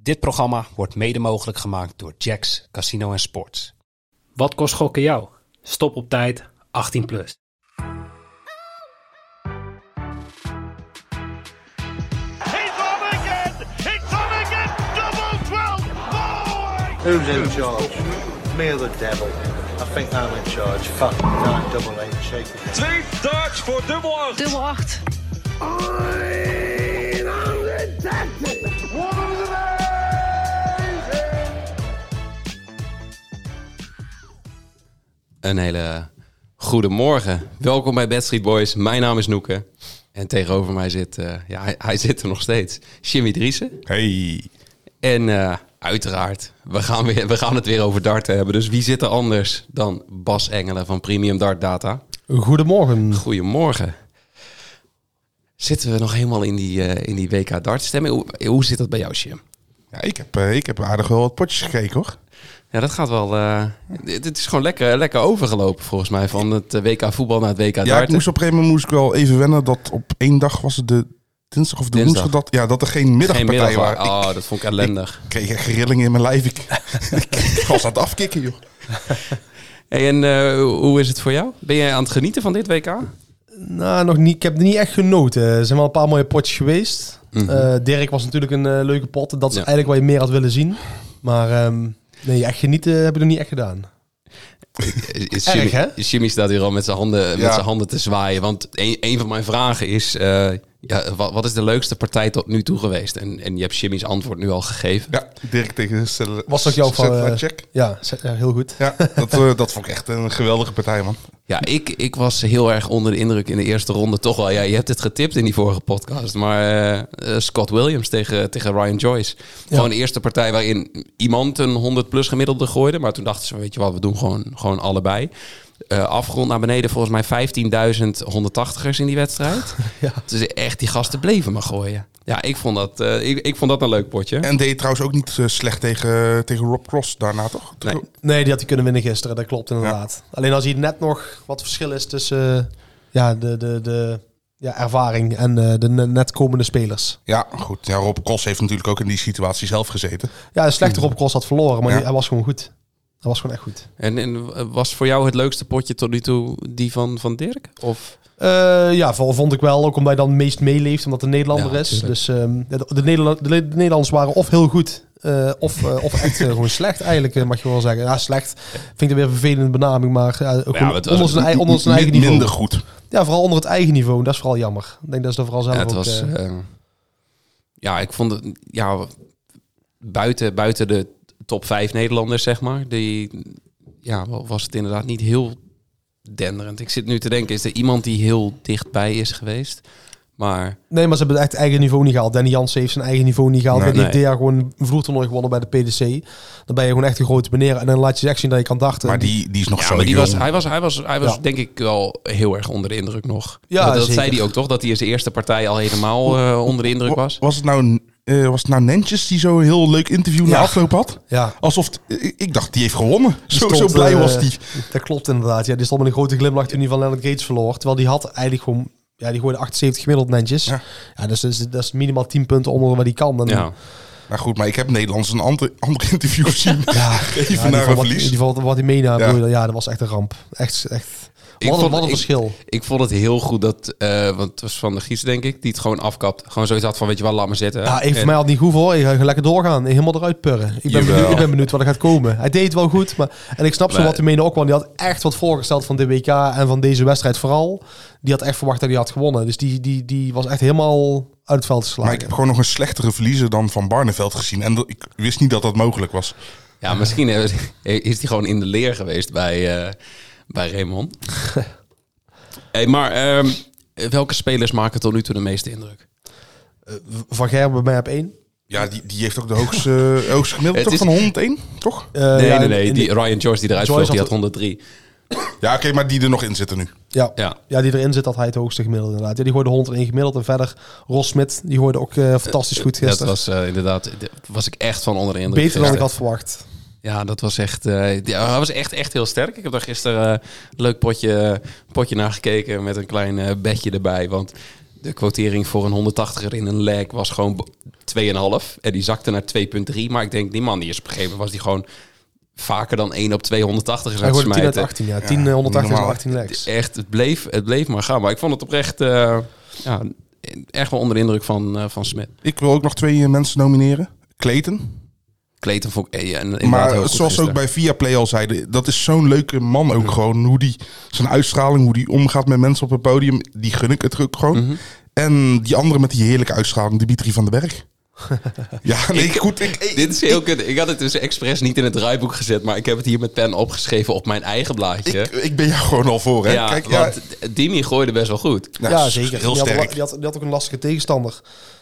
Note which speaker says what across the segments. Speaker 1: Dit programma wordt mede mogelijk gemaakt door Jacks Casino en Sports.
Speaker 2: Wat kost gokken jou? Stop op tijd, 18 plus.
Speaker 3: He's on again! He's on again! Double 12! Boy!
Speaker 4: Who's in charge? Me or the devil? I think I'm in charge. Fuck nine double eight, shake it.
Speaker 5: Twee darts voor dubbel acht.
Speaker 6: Dubbel 8.
Speaker 3: What was
Speaker 7: Een hele goede morgen. Welkom bij Bad Street Boys. Mijn naam is Noeke. En tegenover mij zit, eh, ja, hij, hij zit er nog steeds, Jimmy Driessen.
Speaker 8: Hey.
Speaker 7: En eh, uiteraard, we gaan, weer, we gaan het weer over darten hebben. Dus wie zit er anders dan Bas Engelen van Premium Dart Data?
Speaker 8: Goedemorgen.
Speaker 7: Goedemorgen. Zitten we nog helemaal in die, eh, in die WK dart stemming? Hoe, hoe zit dat bij jou, Jim?
Speaker 8: Ja, ik, heb, eh, ik heb aardig wel wat potjes gekeken hoor.
Speaker 7: Ja, dat gaat wel. eh, het, het is gewoon lekker, lekker overgelopen volgens mij. Van het eh, WK voetbal naar het WK
Speaker 8: Ja, ik
Speaker 7: darten.
Speaker 8: moest op een gegeven moment moest ik wel even wennen dat op één dag was het de dinsdag of de
Speaker 7: Dinsdag.
Speaker 8: woensdag dat, ja, dat er geen
Speaker 7: Geen
Speaker 8: middagpartij
Speaker 7: middag.
Speaker 8: waren. Ik
Speaker 7: Oh, dat vond ik ellendig.
Speaker 8: kreeg echt rillingen in mijn lijf. Ik, ik was aan het afkicken joh.
Speaker 7: Hey, en eh, hoe is het voor jou? Ben jij aan het genieten van dit WK?
Speaker 9: Nou, nog niet. Ik heb er niet echt genoten. Er zijn wel een paar mooie potjes geweest.
Speaker 7: Mhm.
Speaker 9: Eh, Dirk was natuurlijk een eh, leuke pot. Dat is
Speaker 7: Ja.
Speaker 9: eigenlijk wat je meer had willen zien. Maar ehm, nee, echt genieten heb ik nog niet echt gedaan.
Speaker 7: Is
Speaker 9: Erg,
Speaker 7: Jimmy,
Speaker 9: hè?
Speaker 7: Jimmy staat hier al met zijn handen, met
Speaker 8: Ja.
Speaker 7: zijn handen te zwaaien. Want een, een van mijn vragen is: eh, ja, wat, wat is de leukste partij tot nu toe geweest? En, en je hebt Jimmy's antwoord nu al gegeven.
Speaker 8: Ja, Dirk tegen Stel-
Speaker 9: Was ook jouw van, eh,
Speaker 8: Check.
Speaker 9: Ja, z- eh, heel goed.
Speaker 8: Ja, dat, eh, dat vond ik echt een geweldige partij man.
Speaker 7: Ja, ik, ik was heel erg onder de indruk in de eerste ronde. Toch wel, ja, je hebt het getipt in die vorige podcast. Maar eh, eh, Scott Williams tegen, tegen Ryan Joyce. Gewoon de eerste partij waarin iemand een 100 plus gemiddelde gooide. Maar toen dachten ze, weet je wat, we doen gewoon, gewoon allebei. Eh, afgerond naar beneden volgens mij 15.000 180ers in die wedstrijd. Dus echt, die gasten bleven maar gooien. Ja, ik vond dat, eh, ik, ik vond dat een leuk potje.
Speaker 8: En deed trouwens ook niet eh, slecht tegen, tegen Rob Cross daarna toch?
Speaker 7: Nee.
Speaker 9: Nee, die had hij kunnen winnen gisteren. Dat klopt inderdaad. Alleen als hier net nog wat verschil is tussen eh, ja, de, de, de ja, ervaring en eh, de ne- net komende spelers.
Speaker 8: Ja, goed. Ja, Rob Cross heeft natuurlijk ook in die situatie zelf gezeten.
Speaker 9: Ja, een slechte Rob Cross had verloren, maar
Speaker 8: Mhm. Ja.
Speaker 9: die- hij was gewoon goed. Hij was gewoon echt goed.
Speaker 7: En, en was voor jou het leukste potje tot nu toe die van, van Dirk? Of...
Speaker 9: Eh, ja, vooral vond ik wel. Ook omdat hij dan het meest meeleeft, omdat hij een Nederlander
Speaker 7: Ja,
Speaker 9: is.
Speaker 7: tuurlijk.
Speaker 9: Dus ehm, ja, de, de, Nederland, de, de Nederlanders waren of heel goed, eh, of, eh, of echt eh, gewoon slecht eigenlijk, eh, mag je wel zeggen. Ja, slecht vind ik dan weer een vervelende benaming, maar ja, ook gewoon
Speaker 7: maar het eh, was
Speaker 9: onder zijn, ei- onder zijn eigen
Speaker 8: Min-
Speaker 9: niveau.
Speaker 8: Minder goed.
Speaker 9: Ja, vooral onder het eigen niveau. En dat is vooral jammer. Ik denk dat ze er vooral zelf
Speaker 7: Ja, het
Speaker 9: ook...
Speaker 7: was.
Speaker 9: eh,
Speaker 7: eh, ja, ik vond het. Ja, buiten, buiten de top vijf Nederlanders, zeg maar. Die, ja, wa- was het inderdaad niet heel denderend. Ik zit nu te denken: is er iemand die heel dichtbij is geweest? Maar
Speaker 9: nee, maar ze hebben het echt eigen niveau niet gehaald. Danny Jansen heeft zijn eigen niveau niet gehaald.
Speaker 8: Nee.
Speaker 9: Nee, die
Speaker 7: Nee.
Speaker 9: heeft dit jaar gewoon een vloertoernooi gewonnen bij de PDC. Dan ben je gewoon echt een grote meneer. En dan laat je ze echt zien dat je kan dachten.
Speaker 8: Maar die, die is nog
Speaker 7: Ja,
Speaker 8: zo
Speaker 7: maar die
Speaker 8: jong.
Speaker 7: was, hij was, hij was, hij was
Speaker 9: Ja.
Speaker 7: denk ik wel heel erg onder de indruk nog.
Speaker 9: Ja,
Speaker 7: dat, dat
Speaker 9: zeker.
Speaker 7: zei hij ook toch? Dat hij in zijn eerste partij al helemaal eh, onder de indruk was.
Speaker 8: Was het nou, eh, was het nou Nentjes die zo'n heel leuk interview na
Speaker 9: Ja.
Speaker 8: afloop had?
Speaker 9: Ja.
Speaker 8: Alsof, t- ik ik dacht, die heeft gewonnen. Zo,
Speaker 9: Die stond,
Speaker 8: zo blij
Speaker 9: eh,
Speaker 8: was die.
Speaker 9: Dat klopt inderdaad. Ja, die stond met een grote glimlach toen hij van Leonard Gates verloor. Terwijl die had eigenlijk gewoon... Ja, die gooide 78 gemiddeld netjes. Ja.
Speaker 8: Ja.
Speaker 9: dus dat is, dat is minimaal 10 punten onder wat hij kan. En
Speaker 7: Ja.
Speaker 8: Nou goed, maar ik heb Nederlands een ander, ander interview gezien.
Speaker 9: ja,
Speaker 8: Even
Speaker 9: ja, die
Speaker 8: naar
Speaker 9: van
Speaker 8: een
Speaker 9: wat,
Speaker 8: verlies.
Speaker 9: Die van wat, wat hij meenam,
Speaker 8: Ja.
Speaker 9: ja. ja, dat was echt een ramp. Echt, echt.
Speaker 7: Ik
Speaker 9: Wat, een-
Speaker 7: vond-
Speaker 9: wat een
Speaker 7: ik-
Speaker 9: verschil.
Speaker 7: Ik vond het heel goed dat, eh, want het was van de gids denk ik, die het gewoon afkapt. Gewoon zoiets had van, weet je wel, laat maar zitten.
Speaker 9: Ja, Ah, ik,
Speaker 7: En-
Speaker 9: voor mij had het niet goed hoor. Ik ga gewoon lekker doorgaan. Helemaal eruit purren. Ik ben,
Speaker 8: Jawel.
Speaker 9: benieuwd, ik ben benieuwd wat er gaat komen. Hij deed het wel goed. Maar, en ik snap zo
Speaker 7: Maar-
Speaker 9: wat hij meende ook wel. Die had echt wat voorgesteld van de WK en van deze wedstrijd vooral. Die had echt verwacht dat hij had gewonnen. Dus die, die, die was echt helemaal uit het veld geslagen.
Speaker 8: Maar ik heb gewoon nog een slechtere verliezer dan Van Barneveld gezien. En dat- ik wist niet dat dat mogelijk was.
Speaker 7: Ja, misschien hebben ze- is hij gewoon in de leer geweest bij, eh, bij Raymond. hey, maar ehm, welke spelers maken tot nu toe de meeste indruk?
Speaker 9: Van Gerben bij mij op één.
Speaker 8: Ja, die, die heeft ook de hoogste, eh, hoogste gemiddelde
Speaker 7: Het
Speaker 8: toch
Speaker 7: is-
Speaker 8: van 101, toch?
Speaker 9: Eh,
Speaker 7: Nee,
Speaker 9: ja,
Speaker 7: nee,
Speaker 9: in-
Speaker 7: nee.
Speaker 9: in
Speaker 7: Die,
Speaker 9: de-
Speaker 7: Ryan Joyce die eruit
Speaker 9: Joyce
Speaker 7: vloog, die had
Speaker 9: had
Speaker 7: 103.
Speaker 8: Ja, oké, maar die er nog in zitten nu.
Speaker 9: ja, ja.
Speaker 7: Ja.
Speaker 9: die erin zit, had hij het hoogste gemiddelde inderdaad. Ja, die gooide 101 gemiddeld. En verder, Ros Smit, die gooide ook eh, fantastisch goed
Speaker 7: Dat
Speaker 9: gisteren.
Speaker 7: was eh, inderdaad, daar was ik echt van onder de indruk.
Speaker 9: Beter dan ik
Speaker 7: gisteren.
Speaker 9: had verwacht.
Speaker 7: Ja, dat was echt, eh, ja, hij was echt, echt heel sterk. Ik heb daar gisteren eh, een leuk potje, potje naar gekeken met een klein eh bedje erbij. Want de quotering voor een 180er in een leg was gewoon bo- 2,5. En die zakte naar 2,3. Maar ik denk, die man die is op een gegeven moment was die gewoon vaker dan 1 op 280 is
Speaker 9: Hij
Speaker 7: aan het
Speaker 9: wordt 10 uit
Speaker 7: smijten.
Speaker 9: 18, ja. 10, eh, 180 en
Speaker 8: normaal.
Speaker 9: 18 legs.
Speaker 7: Echt, het bleef, het bleef maar gaan. Maar ik vond het oprecht eh, ja, echt wel onder de indruk van, eh, van Smit.
Speaker 8: Ik wil ook nog twee eh, mensen nomineren. Kleten.
Speaker 7: Kleten vond ik eh, ja, inderdaad
Speaker 8: Maar
Speaker 7: heel goed
Speaker 8: zoals ze ook
Speaker 7: gisteren.
Speaker 8: bij Viaplay al zeiden, dat is zo'n leuke man ook gewoon. Hoe die zijn uitstraling, hoe die omgaat met mensen op het podium, die gun ik het ook gewoon.
Speaker 7: Mhm.
Speaker 8: En die andere met die heerlijke uitstraling, Dimitri van den Berg. ja, nee, goed. Ik, ik-
Speaker 7: Dit is heel kut. Ik had het dus expres niet in het draaiboek gezet, maar ik heb het hier met pen opgeschreven op mijn eigen blaadje.
Speaker 8: ik, ik ben jou gewoon al voor, hè?
Speaker 7: ja,
Speaker 8: Kijk, ja, nou,
Speaker 7: want Dimi gooide best wel goed.
Speaker 8: ja,
Speaker 9: ja, zeker.
Speaker 8: Heel
Speaker 9: die, had,
Speaker 8: sterk.
Speaker 9: die, had, die had ook een lastige tegenstander.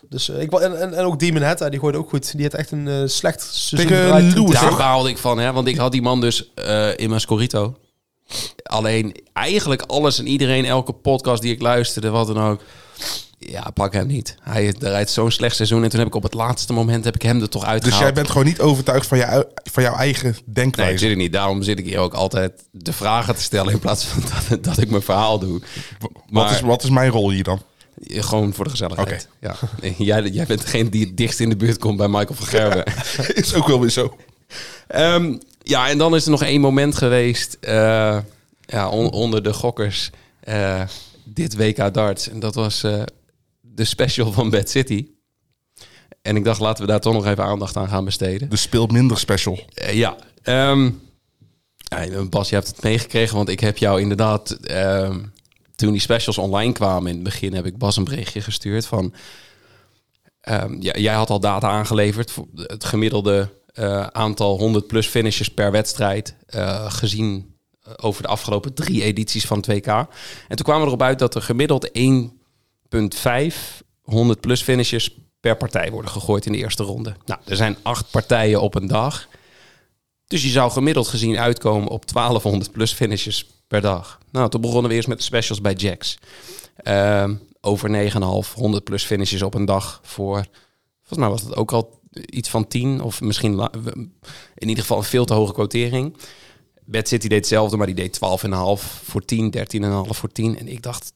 Speaker 9: Dus, eh, ik, wa- en, en, en ook Demon Hatta, die gooide ook goed. Die had echt een eh, slecht seizoen
Speaker 8: Tegen
Speaker 9: gedraaid.
Speaker 8: Lewis,
Speaker 9: Ja,
Speaker 7: Daar
Speaker 8: toch?
Speaker 7: baalde ik van, hè, want ik had die man dus eh, in mijn scorito. Alleen eigenlijk alles en iedereen, elke podcast die ik luisterde, wat dan ook. Ja, pak hem niet. Hij rijdt zo'n slecht seizoen. En toen heb ik op het laatste moment heb ik hem er toch
Speaker 8: Dus
Speaker 7: uitgehaald.
Speaker 8: jij bent gewoon niet overtuigd van, jou, van jouw eigen
Speaker 7: Nee, ik
Speaker 8: denkwijze.
Speaker 7: zit er niet. Daarom zit ik hier ook altijd de vragen te stellen in plaats van dat, dat ik mijn verhaal doe.
Speaker 8: wat, is, wat is mijn rol hier dan?
Speaker 7: Gewoon voor de gezelligheid. Ja. Nee, jij, jij bent degene die het dichtst in de buurt komt bij Michael van Gerwen.
Speaker 8: is ook wel weer zo.
Speaker 7: Ehm, ja, en dan is er nog één moment geweest eh, ja, on- onder de gokkers eh, dit WK darts. En dat was eh, de special van Bad City. En ik dacht, laten we daar toch nog even aandacht aan gaan besteden.
Speaker 8: De Dus speelt minder special.
Speaker 7: Eh, ja. ehm, ja, eh, Bas, je hebt het meegekregen, want ik heb jou inderdaad... ehm, toen die specials online kwamen in het begin, heb ik Bas een berichtje gestuurd van... ehm, ja, jij had al data aangeleverd, voor het gemiddelde eh, aantal 100-plus finishes per wedstrijd... eh, gezien eh, over de afgelopen drie edities van 2K. En toen kwamen we erop uit dat er gemiddeld 1,5 100-plus finishes per partij worden gegooid in de eerste ronde. Nou, er zijn acht partijen op een dag... Dus je zou gemiddeld gezien uitkomen op 1200 plus finishes per dag. Nou, toen begonnen we eerst met de specials bij Jax. Ehm, over 9,5, 100 plus finishes op een dag voor... Volgens mij was dat ook al iets van 10 of misschien... la- In ieder geval een veel te hoge quotering. Bad City deed hetzelfde, maar die deed 12,5 voor 10, 13,5 voor 10. En ik dacht...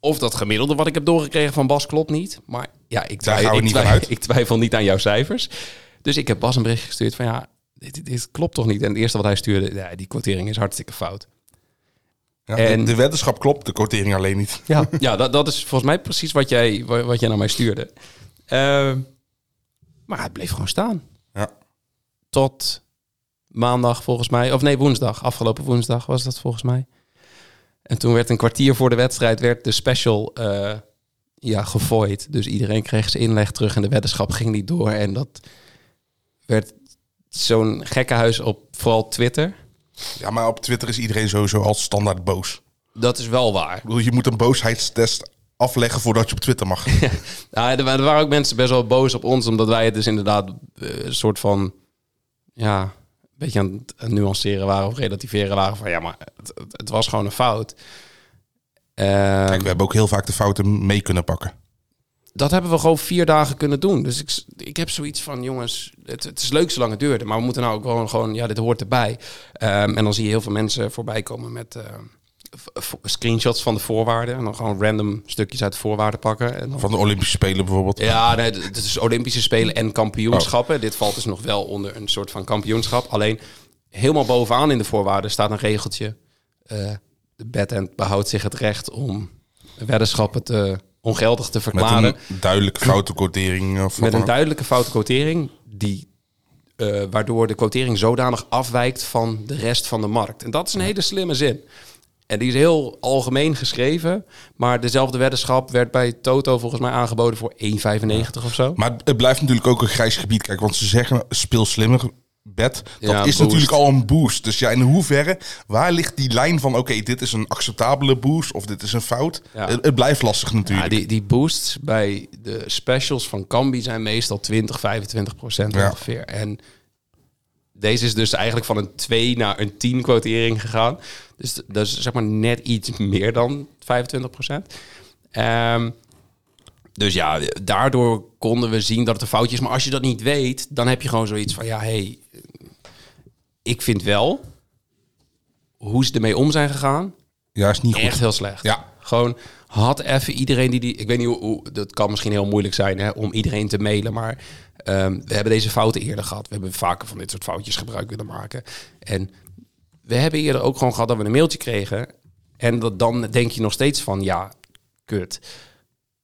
Speaker 7: Of dat gemiddelde wat ik heb doorgekregen van Bas klopt niet. Maar ja, ik,
Speaker 8: Daar
Speaker 7: twi-
Speaker 8: gaan we
Speaker 7: ik,
Speaker 8: niet
Speaker 7: twi-
Speaker 8: van uit.
Speaker 7: ik twijfel niet aan jouw cijfers. Dus ik heb Bas een bericht gestuurd van ja, dit, dit klopt toch niet? En het eerste wat hij stuurde, ja, die quotering is hartstikke fout.
Speaker 8: Ja,
Speaker 7: En-
Speaker 8: de, de weddenschap klopt, de quotering alleen niet.
Speaker 9: Ja,
Speaker 7: Ja, dat, dat is volgens mij precies wat jij, wa- wat jij naar mij stuurde. Ehm, maar hij bleef gewoon staan.
Speaker 8: Ja.
Speaker 7: Tot maandag volgens mij. Of nee, woensdag. Afgelopen woensdag was dat volgens mij. En toen werd een kwartier voor de wedstrijd werd de special eh ja, gevooid. Dus iedereen kreeg zijn inleg terug en de weddenschap ging niet door. En dat werd zo'n gekkenhuis op vooral Twitter.
Speaker 8: Ja, maar op Twitter is iedereen sowieso al standaard boos.
Speaker 7: Dat is wel waar.
Speaker 8: Ik bedoel, je moet een boosheidstest afleggen voordat je op Twitter mag.
Speaker 7: Ja, er, wa- er waren ook mensen best wel boos op ons, omdat wij het dus inderdaad eh, een soort van, ja, een beetje aan het- aan het nuanceren waren of relativeren waren van, ja, maar het, het- het was gewoon een fout. Ehm,
Speaker 8: Kijk, we hebben ook heel vaak de fouten mee kunnen pakken.
Speaker 7: dat hebben we gewoon vier dagen kunnen doen. Dus ik, s- ik heb zoiets van, jongens, het, het is leuk zolang het duurde. Maar we moeten nou ook gewoon, gewoon ja, dit hoort erbij. Ehm, en dan zie je heel veel mensen voorbij komen met eh, v- v- screenshots van de voorwaarden. En dan gewoon random stukjes uit de voorwaarden pakken. En dan
Speaker 8: Van de Olympische Spelen bijvoorbeeld.
Speaker 7: Ja, nee, het is Olympische Spelen en kampioenschappen.
Speaker 8: Oh.
Speaker 7: Dit valt dus nog wel onder een soort van kampioenschap. Alleen helemaal bovenaan in de voorwaarden staat een regeltje. eh de bedend behoudt zich het recht om weddenschappen te, ongeldig te
Speaker 8: Met
Speaker 7: verklaren.
Speaker 8: een duidelijke foute quotering. Of
Speaker 7: eh, Met
Speaker 8: wat
Speaker 7: een
Speaker 8: dan ook.
Speaker 7: duidelijke foute quotering, die, eh, waardoor de quotering zodanig afwijkt van de rest van de markt. En dat is een hele slimme zin. En die is heel algemeen geschreven, maar dezelfde weddenschap werd bij Toto volgens mij aangeboden voor 1,95 of zo.
Speaker 8: Maar het blijft natuurlijk ook een grijs gebied. Kijk, want ze zeggen speel slimmer bed. Dat
Speaker 7: Ja,
Speaker 8: is
Speaker 7: boost.
Speaker 8: natuurlijk al een boost. Dus ja, in hoeverre, waar ligt die lijn van... oké, dit is een acceptabele boost of dit is een fout?
Speaker 7: Ja.
Speaker 8: Het, het blijft lastig natuurlijk.
Speaker 7: Ja, die, die boosts bij de specials van Kambi zijn meestal 20, 25 procent
Speaker 8: Ja.
Speaker 7: ongeveer. En deze is dus eigenlijk van een 2 naar een 10 quotering gegaan. Dus d- dat is zeg maar net iets meer dan 25 procent. Ehm, dus ja, daardoor konden we zien dat het een foutje is. Maar als je dat niet weet, dan heb je gewoon zoiets van... ja, hey, ik vind wel hoe ze ermee om zijn gegaan
Speaker 8: Ja, is niet goed.
Speaker 7: echt heel slecht.
Speaker 8: Ja.
Speaker 7: Gewoon had even iedereen die die. Ik weet niet hoe, hoe- dat kan misschien heel moeilijk zijn hè, om iedereen te mailen, maar ehm, we hebben deze fouten eerder gehad. We hebben vaker van dit soort foutjes gebruik willen maken. En we hebben eerder ook gewoon gehad dat we een mailtje kregen en dat dan denk je nog steeds van ja, kut.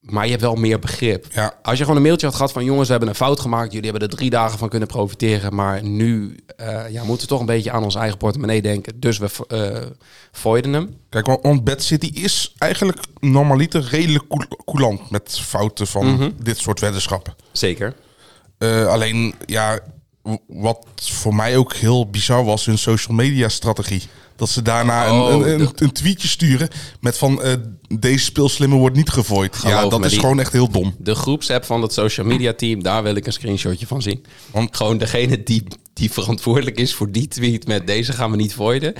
Speaker 7: Maar je hebt wel meer begrip.
Speaker 8: Ja.
Speaker 7: Als je gewoon een mailtje had gehad van jongens, we hebben een fout gemaakt. Jullie hebben er drie dagen van kunnen profiteren. Maar nu eh, ja, moeten we toch een beetje aan ons eigen portemonnee denken. Dus we eh voiden hem.
Speaker 8: Kijk, want- want Bad City is eigenlijk normaliter redelijk coul- coulant met fouten van
Speaker 7: Mhm.
Speaker 8: dit soort weddenschappen.
Speaker 7: Zeker.
Speaker 8: Eh, alleen, ja, w- wat voor mij ook heel bizar was, hun social media strategie. Dat ze daarna een-
Speaker 7: Oh,
Speaker 8: een, een,
Speaker 7: de-
Speaker 8: een tweetje sturen met van eh, deze speelslimmer wordt niet gevooid.
Speaker 7: Geloof
Speaker 8: ja, dat
Speaker 7: me,
Speaker 8: is
Speaker 7: die-
Speaker 8: gewoon echt heel dom.
Speaker 7: De groepsapp van het social media team, daar wil ik een screenshotje van zien. Want gewoon degene die, die verantwoordelijk is voor die tweet met deze gaan we niet voiden.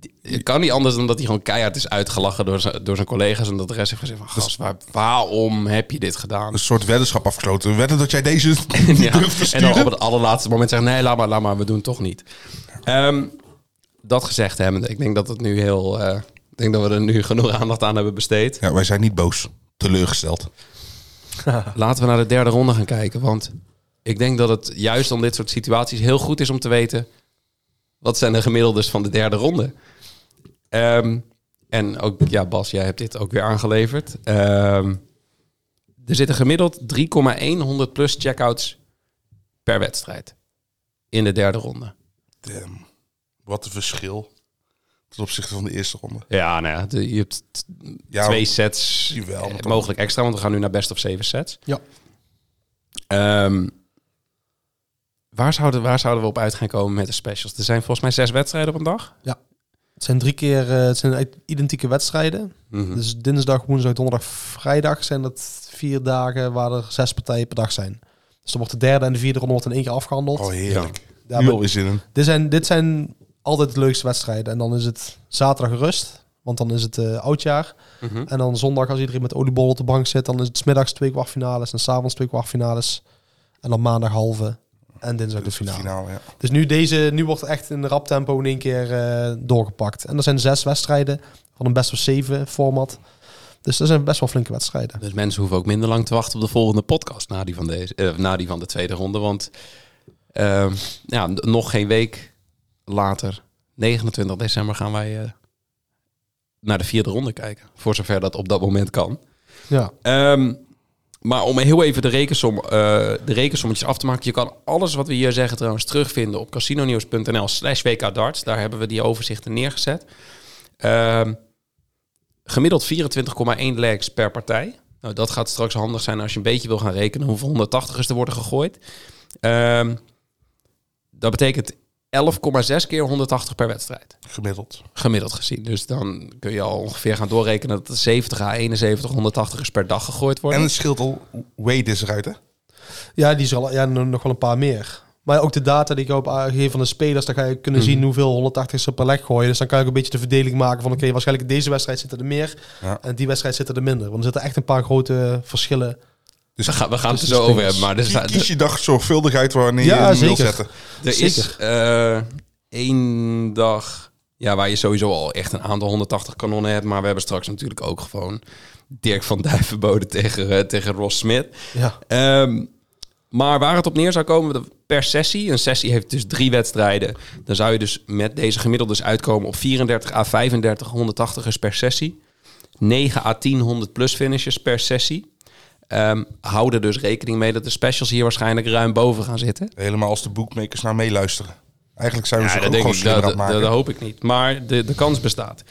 Speaker 7: die- Het kan niet anders dan dat hij gewoon keihard is uitgelachen door zijn, door zijn collega's. En dat de rest heeft gezegd van, gast, waar- waarom heb je dit gedaan?
Speaker 8: Een soort weddenschap afgesloten. We Wedden dat jij deze niet
Speaker 7: Ja,
Speaker 8: Dus durft te
Speaker 7: en dan
Speaker 8: sturen.
Speaker 7: op het allerlaatste moment zeggen: nee, laat maar, laat maar, we doen het toch niet. Ehm, dat gezegd hebbende, ik denk dat het nu heel. eh, ik denk dat we er nu genoeg aandacht aan hebben besteed.
Speaker 8: Ja, wij zijn niet boos. Teleurgesteld.
Speaker 7: Laten we naar de derde ronde gaan kijken. Want ik denk dat het juist om dit soort situaties heel goed is om te weten. wat zijn de gemiddeldes van de derde ronde. Ehm, en ook, ja, Bas, jij hebt dit ook weer aangeleverd. Ehm, er zitten gemiddeld 3,100 plus checkouts per wedstrijd in de derde ronde.
Speaker 8: Damn. Wat een verschil ten opzichte van de eerste ronde.
Speaker 7: Ja, nou ja, de- je hebt t-
Speaker 8: Ja,
Speaker 7: twee sets
Speaker 8: jawel,
Speaker 7: eh,
Speaker 8: maar toch.
Speaker 7: mogelijk extra, want we gaan nu naar best of zeven sets.
Speaker 9: Ja.
Speaker 7: Ehm, waar, zouden, waar zouden we op uit gaan komen met de specials? Er zijn volgens mij zes wedstrijden op een dag.
Speaker 9: Het zijn drie keer eh, het zijn identieke wedstrijden.
Speaker 8: Mhm.
Speaker 9: Dus dinsdag, woensdag, donderdag, vrijdag zijn dat vier dagen waar er zes partijen per dag zijn. Dus dan wordt de derde en de vierde ronde wordt in één keer afgehandeld.
Speaker 8: Oh, heerlijk.
Speaker 9: Ja,
Speaker 8: Nu
Speaker 9: maar-
Speaker 8: alweer zin in.
Speaker 9: dit, zijn, dit zijn altijd de leukste wedstrijden. En dan is het zaterdag rust, want dan is het eh, oudjaar. En dan zondag, als iedereen met oliebollen op de bank zit, dan is het 's middags twee kwartfinales en s'avonds twee kwartfinales. En dan maandag halve en dinsdag de finale.
Speaker 8: Finale, ja.
Speaker 9: Dus nu, deze, nu wordt echt in rap tempo in één keer eh, doorgepakt. En er zijn zes wedstrijden van een best of zeven format. Dus dat zijn best wel flinke wedstrijden.
Speaker 7: Dus mensen hoeven ook minder lang te wachten op de volgende podcast na die van, deze, eh, na die van de tweede ronde. Want ehm, ja, n- nog geen week later, 29 december, gaan wij eh, naar de vierde ronde kijken. Voor zover dat op dat moment kan.
Speaker 9: Ja.
Speaker 7: Ehm, maar om heel even de, rekensom, eh, de rekensommetjes af te maken. Je kan alles wat we hier zeggen trouwens terugvinden op casinonieuws.nl slash wkdarts. Daar hebben we die overzichten neergezet. Ehm, gemiddeld 24,1 legs per partij. Nou, dat gaat straks handig zijn als je een beetje wil gaan rekenen hoeveel 180ers er worden gegooid. Ehm, dat betekent 11,6 keer 180 per wedstrijd
Speaker 8: Gemiddeld.
Speaker 7: gemiddeld gezien. Dus dan kun je al ongeveer gaan doorrekenen dat er 70 à 71, 180 is per dag gegooid worden.
Speaker 8: En het scheelt al. Wade is eruit, hè?
Speaker 9: Ja, die is er al, ja, no- nog wel een paar meer. Maar ook de data die ik op aangeef van de spelers, dan ga je kunnen zien hoeveel 180 ze per leg gooien. Dus dan kan ik een beetje de verdeling maken van oké, waarschijnlijk in deze wedstrijd zitten er meer
Speaker 8: Ja.
Speaker 9: en die wedstrijd zitten er minder. Want er zitten echt een paar grote verschillen.
Speaker 7: dus we gaan, we gaan het er zo over hebben. Maar er,
Speaker 8: Kie-
Speaker 7: sta-
Speaker 8: dus Kies je dag zorgvuldigheid wanneer
Speaker 9: Ja,
Speaker 8: je hem wil
Speaker 9: zeker.
Speaker 8: zetten.
Speaker 7: er is eh, één dag ja, waar je sowieso al echt een aantal 180 kanonnen hebt. Maar we hebben straks natuurlijk ook gewoon Dirk van Duivenbode tegen, eh, tegen Ross Smit.
Speaker 9: Ja.
Speaker 7: Ehm, maar waar het op neer zou komen dat per sessie, een sessie heeft dus drie wedstrijden, dan zou je dus met deze gemiddeldes uitkomen op 34 à 35 180ers per sessie. 9 à 10 100 plus finishes per sessie. Ehm hou er dus rekening mee dat de specials hier waarschijnlijk ruim boven gaan zitten.
Speaker 8: Helemaal als de bookmakers naar meeluisteren. Eigenlijk zijn we ze
Speaker 7: Ja, dat,
Speaker 8: ook
Speaker 7: denk
Speaker 8: gewoon
Speaker 7: ik,
Speaker 8: slimmer
Speaker 7: dat,
Speaker 8: aan het
Speaker 7: dat-
Speaker 8: maken.
Speaker 7: dat hoop ik niet. Maar de, de kans bestaat.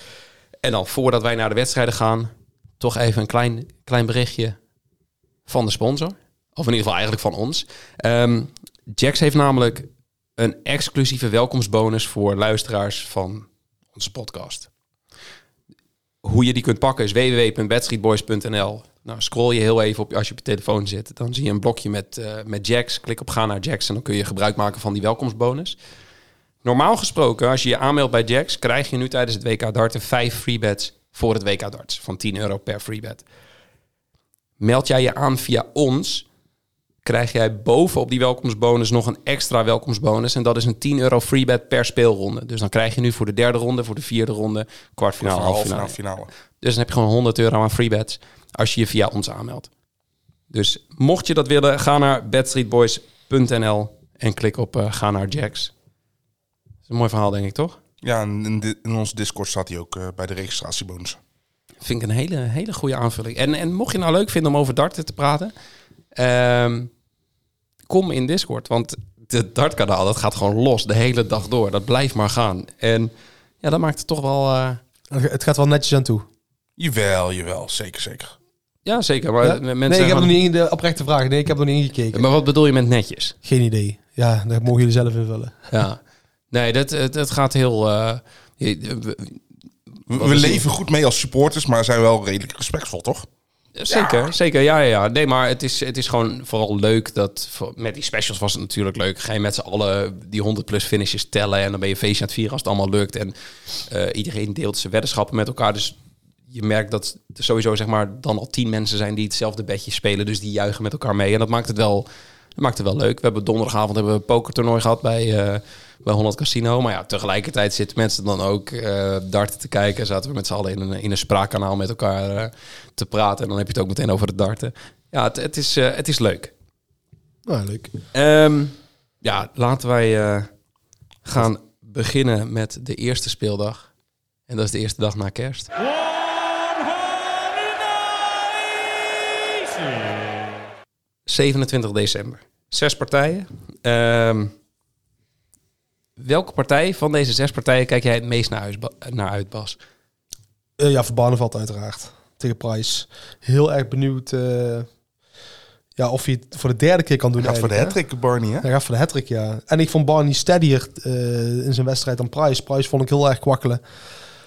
Speaker 7: En dan voordat wij naar de wedstrijden gaan, toch even een klein, klein berichtje van de sponsor. Of in ieder geval eigenlijk van ons. Ehm Jax heeft namelijk een exclusieve welkomstbonus voor luisteraars van onze podcast. Hoe je die kunt pakken is www.bedstreetboys.nl. Nou, scroll je heel even op, als je op je telefoon zit. Dan zie je een blokje met, eh met Jax. Klik op ga naar Jax en dan kun je gebruik maken van die welkomstbonus. Normaal gesproken, als je je aanmeldt bij Jax, krijg je nu tijdens het WK darten 5 freebets voor het WK darts van 10 euro per freebet. Meld jij je aan via ons, krijg jij bovenop die welkomstbonus nog een extra welkomstbonus en dat is een 10 euro freebet per speelronde. Dus dan krijg je nu voor de derde ronde, voor de vierde ronde, kwartfinale,
Speaker 8: Halve
Speaker 7: halffinale.
Speaker 8: finale. finale.
Speaker 7: Dus dan heb je gewoon 100 euro aan free bets als je je via ons aanmeldt. Dus mocht je dat willen, ga naar bedstreetboys.nl en klik op eh, ga naar Jacks. Dat is een mooi verhaal, denk ik, toch?
Speaker 8: Ja, en in, di- in ons Discord staat hij ook eh, bij de registratiebonus.
Speaker 7: Vind ik een hele, hele goede aanvulling. En, en mocht je nou leuk vinden om over darten te praten, ehm, kom in Discord. Want het dartkanaal, dat gaat gewoon los de hele dag door. Dat blijft maar gaan. En ja, dat maakt het toch wel... eh,
Speaker 9: Het gaat wel netjes aan toe.
Speaker 8: Jawel, jawel, zeker, zeker.
Speaker 7: ja, zeker. Maar
Speaker 9: Ja?
Speaker 7: eh, mensen
Speaker 9: nee, ik
Speaker 7: zijn
Speaker 9: heb nog
Speaker 7: gewoon-
Speaker 9: niet in de oprechte vraag. Nee, ik heb nog niet ingekeken.
Speaker 7: Maar wat bedoel je met netjes?
Speaker 9: Geen idee. Ja, dat mogen jullie zelf invullen.
Speaker 7: Ja. Nee, dat, het, het gaat heel... eh, je- we-
Speaker 8: We,
Speaker 7: Wat
Speaker 8: we
Speaker 7: is die?
Speaker 8: leven goed mee als supporters, maar zijn wel redelijk respectvol, toch?
Speaker 7: Zeker, zeker. Ja, ja, ja. Nee, maar het is, het is gewoon vooral leuk dat... voor- Met die specials was het natuurlijk leuk. Ga je met z'n allen die 100-plus finishes tellen... en dan ben je een feestje aan het vieren als het allemaal lukt. En eh, iedereen deelt zijn weddenschappen met elkaar. Dus je merkt dat er sowieso zeg maar, dan al tien mensen zijn... die hetzelfde bedje spelen, dus die juichen met elkaar mee. En dat maakt het wel, dat maakt het wel leuk. We hebben donderdagavond hebben we een pokertoernooi gehad bij, eh, bij 100 Casino. Maar ja, tegelijkertijd zitten mensen dan ook eh, darten te kijken. Zaten we met z'n allen in een, in een spraakkanaal met elkaar eh, te praten. En dan heb je het ook meteen over het darten. Ja, het, het, is, eh, het is leuk.
Speaker 9: Nou, leuk.
Speaker 7: Ehm, ja, laten wij eh, gaan beginnen met de eerste speeldag. En dat is de eerste dag na kerst.
Speaker 5: Nice!
Speaker 7: 27 december. Zes partijen. Ehm, welke partij van deze zes partijen kijk jij het meest naar, huis, Ba- naar uit, Bas?
Speaker 9: Eh, ja, voor Barneveld uiteraard. Tegen Price. Heel erg benieuwd eh, ja, of hij het voor de derde keer kan doen.
Speaker 8: Gaat voor de
Speaker 9: eigenlijk, hè?
Speaker 8: hattrick, Barney, hè?
Speaker 9: Hij gaat voor de hattrick, ja. En ik vond Barney steadier eh, in zijn wedstrijd dan Price. Price vond ik heel erg kwakkelen.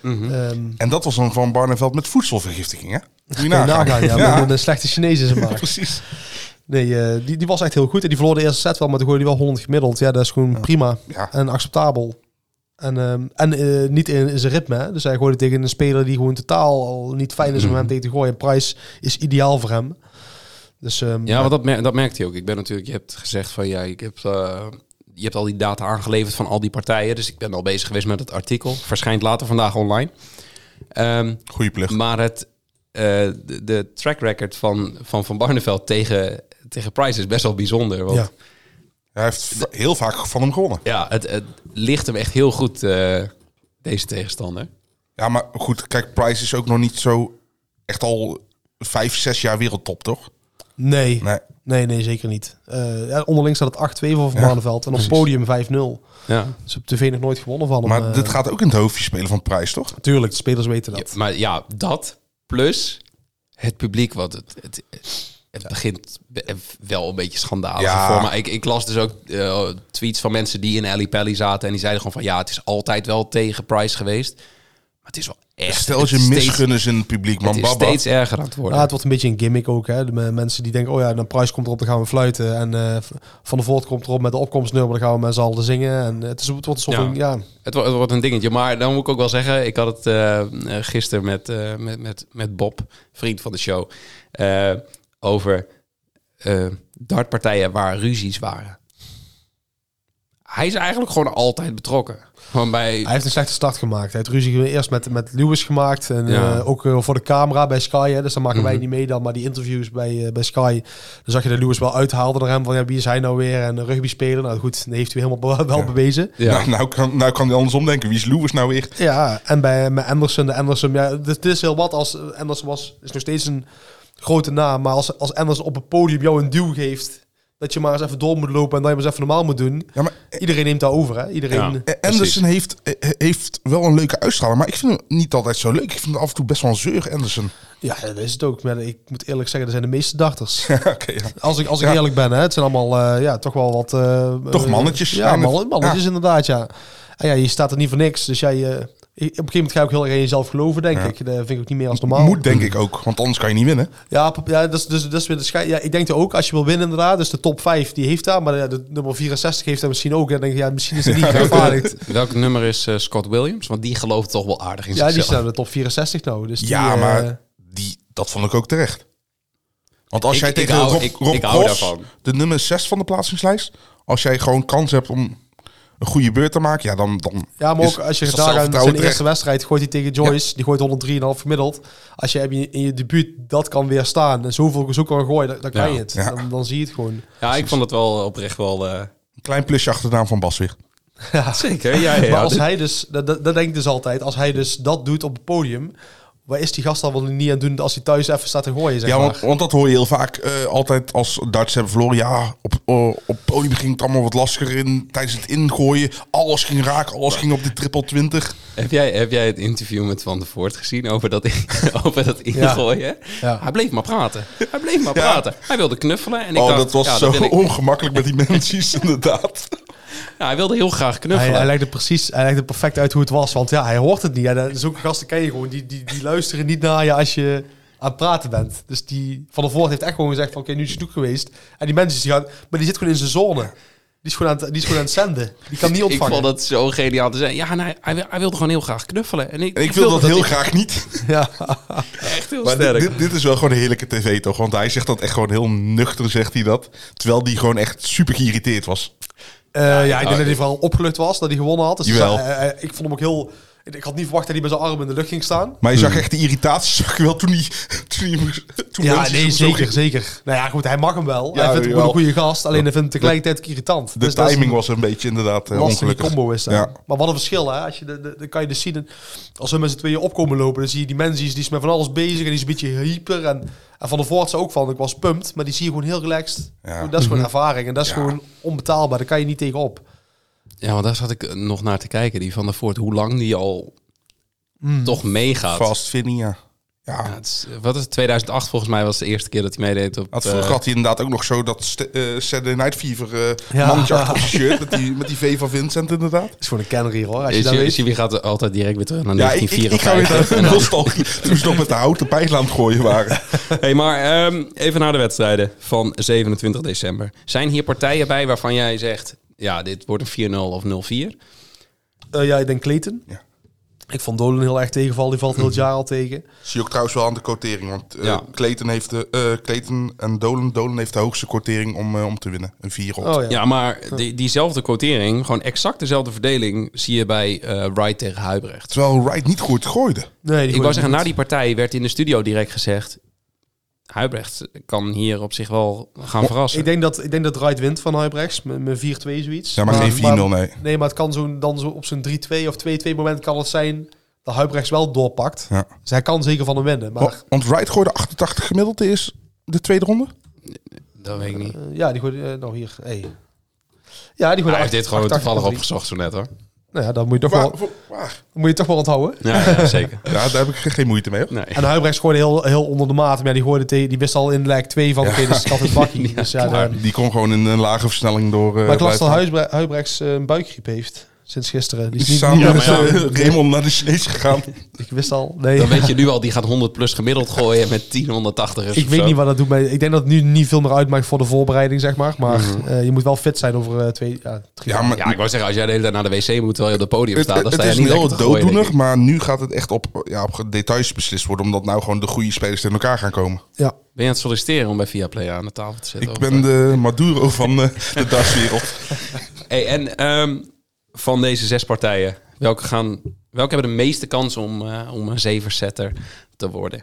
Speaker 8: Mhm.
Speaker 9: Ehm,
Speaker 8: En dat was dan van Barneveld met voedselvergiftiging, hè? Moet je
Speaker 9: kun je
Speaker 8: nagaan.
Speaker 9: nagaan, ja, maar dan een slechte Chinees in zijn maag.
Speaker 8: precies.
Speaker 9: Nee, eh, die, die was echt heel goed. En die verloor de eerste set wel, maar toen gooide hij wel 100 gemiddeld. Ja, dat is gewoon prima
Speaker 8: Ja.
Speaker 9: en acceptabel. En, ehm, en eh, niet in, in zijn ritme. Hè. Dus hij gooide tegen een speler die gewoon totaal al niet fijn
Speaker 8: Mhm.
Speaker 9: is om hem tegen te gooien. Price is ideaal voor hem. Dus ehm,
Speaker 7: Ja, want dat, mer- dat merkt hij ook. Ik ben natuurlijk, je hebt gezegd van ja, ik heb, eh, je hebt al die data aangeleverd van al die partijen. Dus ik ben al bezig geweest met het artikel. Verschijnt later vandaag online. Ehm,
Speaker 8: Goeie plug.
Speaker 7: maar het, eh, de, de track record van Van, van Barneveld tegen, tegen Price is best wel bijzonder. Want
Speaker 9: Ja.
Speaker 8: Hij heeft va- heel vaak van hem gewonnen.
Speaker 7: Ja, het, het ligt hem echt heel goed, eh, deze tegenstander.
Speaker 8: Ja, maar goed, kijk, Price is ook nog niet zo echt al vijf, zes jaar wereldtop, toch?
Speaker 9: nee.
Speaker 8: Nee.
Speaker 9: nee, nee, zeker niet. Eh, ja, onderling staat het 8-2 voor Van
Speaker 8: Ja,
Speaker 9: Barneveld. En op podium 5-0.
Speaker 7: Ja.
Speaker 9: Dus op tv nog nooit gewonnen van hem.
Speaker 8: Maar
Speaker 9: eh.
Speaker 8: dit gaat ook in het hoofdje spelen van Price, toch?
Speaker 9: Tuurlijk, de spelers weten dat.
Speaker 7: Maar ja, dat plus het publiek, wat het, het, het begint be- eh, wel een beetje schandalig
Speaker 8: Ja.
Speaker 7: voor. Maar ik, ik las dus ook eh, tweets van mensen die in Ali Pally zaten en die zeiden gewoon van ja, het is altijd wel tegen Price geweest. Maar het is wel echt.
Speaker 8: Stel je
Speaker 7: het is
Speaker 8: misgunnen in het publiek,
Speaker 7: steeds,
Speaker 8: man.
Speaker 7: het is
Speaker 8: Baba.
Speaker 7: steeds erger aan het worden.
Speaker 9: Ja, het wordt een beetje een gimmick ook. Hè. De me- mensen die denken, oh ja, dan Price komt erop, dan gaan we fluiten. En eh, V- Van der Voort komt erop met de opkomstnummer, dan gaan we met z'n allen zingen. En het, is, het wordt een soort
Speaker 7: Ja.
Speaker 9: van, ja.
Speaker 7: Het, wo- het wordt een dingetje. Maar dan moet ik ook wel zeggen, ik had het eh, eh, gisteren met, eh, met, met, met Bob, vriend van de show, eh, over eh, dartpartijen waar ruzies waren. Hij is eigenlijk gewoon altijd betrokken. Gewoon bij...
Speaker 9: Hij heeft een slechte start gemaakt. Hij heeft ruzie eerst met, met Lewis gemaakt. En
Speaker 7: Ja. Mhm.
Speaker 9: eh, ook eh, voor de camera bij Sky. Hè. Dus dan maken wij niet mee dan. Maar die interviews bij, eh, bij Sky. Dan zag je dat Lewis wel uithaalde naar hem. Van ja, wie is hij nou weer? En een rugby speler. Nou goed, dat heeft hij helemaal be- wel bewezen.
Speaker 7: Ja.
Speaker 8: Nou, nou, kan, nou kan hij andersom denken. Wie is Lewis nou weer?
Speaker 9: Ja, en bij met Anderson, de Anderson, ja, dit is heel wat als eh, Anderson was, is nog steeds een grote naam, maar als, als Anderson op het podium jou een duw geeft, dat je maar eens even door moet lopen en dat je maar eens even normaal moet doen.
Speaker 8: Ja, maar
Speaker 9: Iedereen neemt daar over, hè? Iedereen.
Speaker 7: Ja.
Speaker 8: eh, Anderson heeft, eh, heeft wel een leuke uitstraling, maar ik vind hem niet altijd zo leuk. Ik vind hem af en toe best wel een zeur, Anderson.
Speaker 9: Ja, dat is het ook. Maar ik moet eerlijk zeggen, er zijn de meeste darters.
Speaker 8: Oké, ja.
Speaker 9: Als ik, als ik
Speaker 8: Ja.
Speaker 9: eerlijk ben, hè, het zijn allemaal eh, ja, toch wel wat... eh,
Speaker 8: Toch
Speaker 9: eh,
Speaker 8: mannetjes.
Speaker 9: Ja,
Speaker 8: En-
Speaker 9: mannen- mannetjes inderdaad, ja. En ja, je staat er niet voor niks, dus jij... eh, op een gegeven moment ga je ook heel erg in jezelf geloven, denk ik. Dat vind ik ook niet meer als normaal.
Speaker 8: Moet
Speaker 7: Mm.
Speaker 8: denk ik ook, want anders kan je niet winnen.
Speaker 9: Ja, pap- ja, dat is, dus, dat is weer de schei- ja, ik denk dat ook, als je wil winnen inderdaad, dus de top 5 die heeft daar, maar ja, de nummer 64 heeft daar misschien ook. En dan denk je, ja, misschien is het niet gerechtvaardigd.
Speaker 7: Welk nummer is eh, Scott Williams? Want die gelooft toch wel aardig in
Speaker 9: Ja, die
Speaker 7: zichzelf.
Speaker 9: staan in de top 64 nou. Dus die,
Speaker 8: Ja,
Speaker 9: eh,
Speaker 8: maar die, dat vond ik ook terecht. Want als
Speaker 7: Ik-
Speaker 8: jij
Speaker 7: ik
Speaker 8: tegen
Speaker 7: hou-
Speaker 8: Rob,
Speaker 7: ik-
Speaker 8: Rob
Speaker 7: ik hou
Speaker 8: Cross,
Speaker 7: daarvan.
Speaker 8: de nummer 6 van de plaatsingslijst... als jij gewoon kans hebt om een goede beurt te maken, ja, dan, dan
Speaker 9: Ja, maar ook als je daar
Speaker 8: Dus is dat
Speaker 9: aan zijn
Speaker 8: zelfvertrouwen terecht.
Speaker 9: eerste wedstrijd gooit hij tegen Joyce, die gooit 103,5 gemiddeld. Als je heb je in je debuut dat kan weerstaan en zoveel zo kan gooien, dan, dan kan je het.
Speaker 8: Ja.
Speaker 9: Dan, dan zie je het gewoon.
Speaker 7: Ja, ik vond het wel oprecht wel... eh,
Speaker 8: een klein plusje achter de naam van Bas weer.
Speaker 7: Zeker, ja, ja. ja.
Speaker 9: maar als
Speaker 7: Dit-
Speaker 9: hij dus, dat, dat, dat denk ik dus altijd, als hij dus dat doet op het podium, waar is die gast dan wel niet aan het doen als hij thuis even staat te gooien, zeg
Speaker 8: Ja,
Speaker 9: maar.
Speaker 8: want, want dat hoor je heel vaak eh, altijd als Duitsers hebben verloren. Ja, op, eh, op, op podium ging het allemaal wat lastiger in tijdens het ingooien. Alles ging raak, alles ging op de triple 20.
Speaker 7: Heb jij, heb jij het interview met Van der Voort gezien over dat, in- over dat ingooien?
Speaker 9: Ja.
Speaker 7: Hij bleef maar praten. Hij bleef maar praten. Hij wilde knuffelen. En ik
Speaker 8: oh,
Speaker 7: dacht,
Speaker 8: dat was
Speaker 7: ja,
Speaker 8: zo
Speaker 7: wil ik.
Speaker 8: ongemakkelijk met die mensen, inderdaad.
Speaker 7: Ja, hij wilde heel graag
Speaker 9: Hij,
Speaker 7: knuffelen.
Speaker 9: hij legt het precies, hij legt het perfect uit hoe het was, want ja, hij hoort het niet. En eh, zulke gasten ken je gewoon, die, die, die luisteren niet naar je als je aan het praten bent. Dus die van de voort heeft echt gewoon gezegd van, oké, nu is het genoeg geweest. En die mensen die gaan, maar die zit gewoon in zijn zone. Die is gewoon aan het, die is gewoon aan het zenden. Die kan niet
Speaker 7: ik
Speaker 9: ontvangen.
Speaker 7: vond dat zo geniaal te zijn. Ja, en hij, hij, wil- hij wilde gewoon heel graag knuffelen. En ik,
Speaker 8: En ik wil dat heel
Speaker 7: ik
Speaker 8: graag niet.
Speaker 9: Ja.
Speaker 7: Echt heel
Speaker 8: Maar dit,
Speaker 7: sterk.
Speaker 8: dit, dit is wel gewoon een heerlijke tv, toch? Want hij zegt dat echt gewoon heel nuchter, zegt hij dat. Terwijl die gewoon echt super geïrriteerd was.
Speaker 9: Eh, ja, ik denk dat hij vooral opgelucht was dat hij gewonnen had. Dus
Speaker 8: Jawel.
Speaker 9: eh, eh, ik vond hem ook heel... Ik ik had niet verwacht dat hij met zijn arm in de lucht ging staan.
Speaker 8: Maar je zag echt de irritatie, zag je wel toen hij... Toen hij toen
Speaker 9: Hmm. Ja,
Speaker 8: mensen
Speaker 9: nee,
Speaker 8: hem zo
Speaker 9: zeker,
Speaker 8: gingen-
Speaker 9: zeker. Nou ja, goed, hij mag hem wel. hij vindt hem
Speaker 8: jawel.
Speaker 9: gewoon een goede gast. Alleen hij vindt het tegelijkertijd ook irritant.
Speaker 8: De
Speaker 9: Dus dat is-
Speaker 8: timing was een beetje inderdaad eh,
Speaker 9: lastige
Speaker 8: ongelukkig.
Speaker 9: combo is dat.
Speaker 8: Ja.
Speaker 9: Maar wat een verschil, hè? Als je de, de, dan kan je dus zien, dat als we met z'n tweeën opkomen lopen, dan zie je die mensen, die is, die is met van alles bezig en die is een beetje hyper. En, en Van der Voort zei ook van, ik was pumped, maar die zie je gewoon heel relaxed.
Speaker 8: Ja.
Speaker 9: Goed, Dat is
Speaker 7: Mhm.
Speaker 9: gewoon ervaring en dat is gewoon onbetaalbaar, daar kan je niet tegenop.
Speaker 7: Ja, want daar zat ik eh, nog naar te kijken. Die Van der Voort, hoe lang die al
Speaker 8: Mm.
Speaker 7: toch meegaat.
Speaker 8: Fast Vinny, ja. Ja,
Speaker 7: Ja, het is- wat is het? 2008 volgens mij was de eerste keer dat hij meedeed op...
Speaker 8: Had,
Speaker 7: eh,
Speaker 8: vroeger had hij inderdaad ook nog zo dat st- eh, Saturday Night Fever eh
Speaker 9: Ja.
Speaker 8: mannetje achter op zijn shirt. Met die, met die V van Vincent inderdaad.
Speaker 9: Dat is gewoon een kenner hier, hoor. Als je
Speaker 7: Is
Speaker 9: dat
Speaker 7: je,
Speaker 9: weet.
Speaker 7: is je, wie gaat altijd direct weer terug naar
Speaker 8: Ja, ik, ik, ik ga
Speaker 7: 1954?
Speaker 8: weer naar nostalgie. Toen ze nog met de houten pijl aan het gooien waren.
Speaker 7: Hey, maar ehm, even naar de wedstrijden van 27 december. Zijn hier partijen bij waarvan jij zegt... ja, dit wordt een 4-0 of 0-4?
Speaker 9: Eh, ja, ik denk Clayton.
Speaker 8: Ja.
Speaker 9: Ik vond Dolan heel erg tegenval, die valt heel
Speaker 7: Mhm.
Speaker 9: het jaar al tegen.
Speaker 8: Zie Dus je ook trouwens wel aan de quotering. Want eh
Speaker 7: Ja.
Speaker 8: Clayton, heeft de, eh, Clayton en Dolan, Dolan heeft de hoogste quotering om, eh, om te winnen. Een 4 op.
Speaker 9: Oh ja.
Speaker 7: Ja, maar die, diezelfde quotering... gewoon exact dezelfde verdeling... zie je bij eh Wright tegen Huibrecht.
Speaker 8: Terwijl Wright niet goed gooide.
Speaker 9: Nee, die
Speaker 7: Ik wou
Speaker 9: gooit
Speaker 7: zeggen,
Speaker 9: niet.
Speaker 7: na die partij werd in de studio direct gezegd... Huibrecht kan hier op zich wel gaan verrassen.
Speaker 9: Ik denk dat, ik denk dat Wright wint van Huibrechts, met met 4-2 zoiets.
Speaker 8: Ja, maar geen 4-0, nee.
Speaker 9: Nee, maar het kan zo, dan zo op zijn 3-2 of 2-2 moment kan het zijn dat Huibrechts wel doorpakt.
Speaker 8: Ja.
Speaker 9: Dus hij kan zeker van hem winnen. Maar
Speaker 8: Want- Want Wright gooide 88 gemiddeld de, eerste- de tweede ronde.
Speaker 7: Dat weet ik niet.
Speaker 9: eh, ja, die gooit eh, nou hier. Hey. Ja, die gooit
Speaker 7: Hij heeft dit gewoon
Speaker 9: 88,
Speaker 7: toevallig
Speaker 9: 88.
Speaker 7: opgezocht zo net hoor.
Speaker 9: Nou ja, dat moet je toch,
Speaker 8: Waar,
Speaker 9: wel,
Speaker 8: voor- waar?
Speaker 9: moet je toch wel onthouden.
Speaker 7: Ja, ja, zeker.
Speaker 8: Ja, daar heb ik geen- geen moeite mee. Hoor.
Speaker 7: Nee.
Speaker 9: En Huibrechts gooide heel, heel onder de maat. Maar ja, die, gooide tegen, die wist al in leg 2 van, oké, dit is kat in het bakkie. dus ja, dan-
Speaker 8: Die kon gewoon in een lage versnelling door. eh,
Speaker 9: maar ik las
Speaker 8: blijven.
Speaker 9: dat Huibre- Huibrechts eh, een buikgriep heeft. Sinds gisteren. Die is
Speaker 8: Die is
Speaker 9: niet,
Speaker 8: samen
Speaker 9: niet-
Speaker 8: met eh, Raymond naar de Chinees gegaan.
Speaker 9: ik wist al. Nee.
Speaker 7: Dan weet je nu al, die gaat 100 plus gemiddeld gooien met 10, 180 is
Speaker 9: Ik
Speaker 7: of
Speaker 9: weet
Speaker 7: zo.
Speaker 9: niet wat dat doet. Maar ik denk dat het nu niet veel meer uitmaakt voor de voorbereiding, zeg maar. Maar
Speaker 7: Mhm.
Speaker 9: eh, je moet wel fit zijn over eh, twee, ja, drie
Speaker 8: Ja, maar
Speaker 7: Ja, ik wou zeggen, als jij de hele tijd naar de wc moet terwijl je op het podium
Speaker 8: het,
Speaker 7: staat, dan
Speaker 8: het
Speaker 7: sta je
Speaker 8: is
Speaker 7: niet
Speaker 8: een
Speaker 7: lekker
Speaker 8: heel
Speaker 7: te gooien, denk
Speaker 8: dooddoener,
Speaker 7: ik.
Speaker 8: maar nu gaat het echt op, ja, op details beslist worden. Omdat nou gewoon de goede spelers tegen elkaar gaan komen.
Speaker 9: Ja.
Speaker 7: Ben je aan het solliciteren om bij Viaplay aan de tafel te zitten?
Speaker 8: Ik
Speaker 7: Of,
Speaker 8: ben
Speaker 7: eh,
Speaker 8: de Maduro van eh, de Duitse wereld.
Speaker 7: Hey, en ehm, van deze zes partijen, welke, gaan, welke hebben de meeste kans om, eh, om een zeversetter te worden?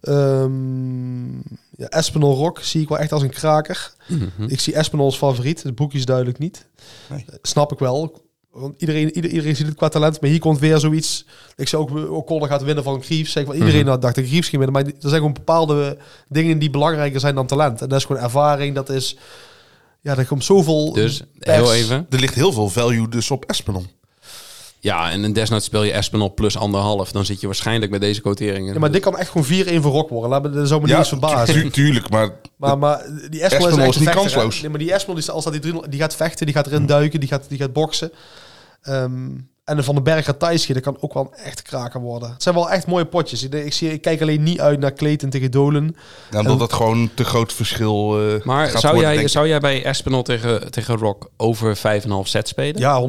Speaker 9: Ehm, ja, Espinol Rock zie ik wel echt als een kraker.
Speaker 7: Mhm.
Speaker 9: Ik zie Espinol als favoriet. Het boekje is duidelijk niet.
Speaker 8: Nee.
Speaker 9: Eh, snap ik wel. Want iedereen, ieder- iedereen ziet het qua talent. Maar hier komt weer zoiets. Ik zou ook eh, O'Connor gaat winnen van Griefs. Zeg, want
Speaker 7: Mhm.
Speaker 9: iedereen had dacht dat Griefs ging winnen. Maar er zijn gewoon bepaalde dingen die belangrijker zijn dan talent. En dat is gewoon ervaring. Dat is... Ja, er komt zoveel...
Speaker 7: Dus,
Speaker 9: pers.
Speaker 7: heel even.
Speaker 8: Er ligt heel veel value dus op Espenon.
Speaker 7: Ja, en desnoods speel je Espenol plus anderhalf. Dan zit je waarschijnlijk met deze quoteringen.
Speaker 9: Ja, maar dit kan echt gewoon 4-1 voor Rock worden. Laat me, dat zou me niet eens verbazen.
Speaker 8: tu- tuurlijk, maar
Speaker 9: Maar, maar die Espel is,
Speaker 8: Espinol
Speaker 9: echt
Speaker 8: is
Speaker 9: een
Speaker 8: niet
Speaker 9: vechter,
Speaker 8: kansloos.
Speaker 9: hè? Nee, maar die Espel die, als dat die, drie- die gaat vechten, die gaat erin duiken, die gaat, die gaat boksen. Ehm, en de Van den Berg gaat thuis schieten, kan ook wel een echt kraker worden. Het zijn wel echt mooie potjes. Ik, ik, zie, ik kijk alleen niet uit naar Clayton tegen Dolan.
Speaker 8: ja, omdat dat gewoon te groot verschil eh
Speaker 7: Maar
Speaker 8: gaat
Speaker 7: zou,
Speaker 8: worden,
Speaker 7: jij,
Speaker 8: denk ik.
Speaker 7: zou jij bij Espinol tegen, tegen Rock over 5,5 set spelen?
Speaker 9: Ja,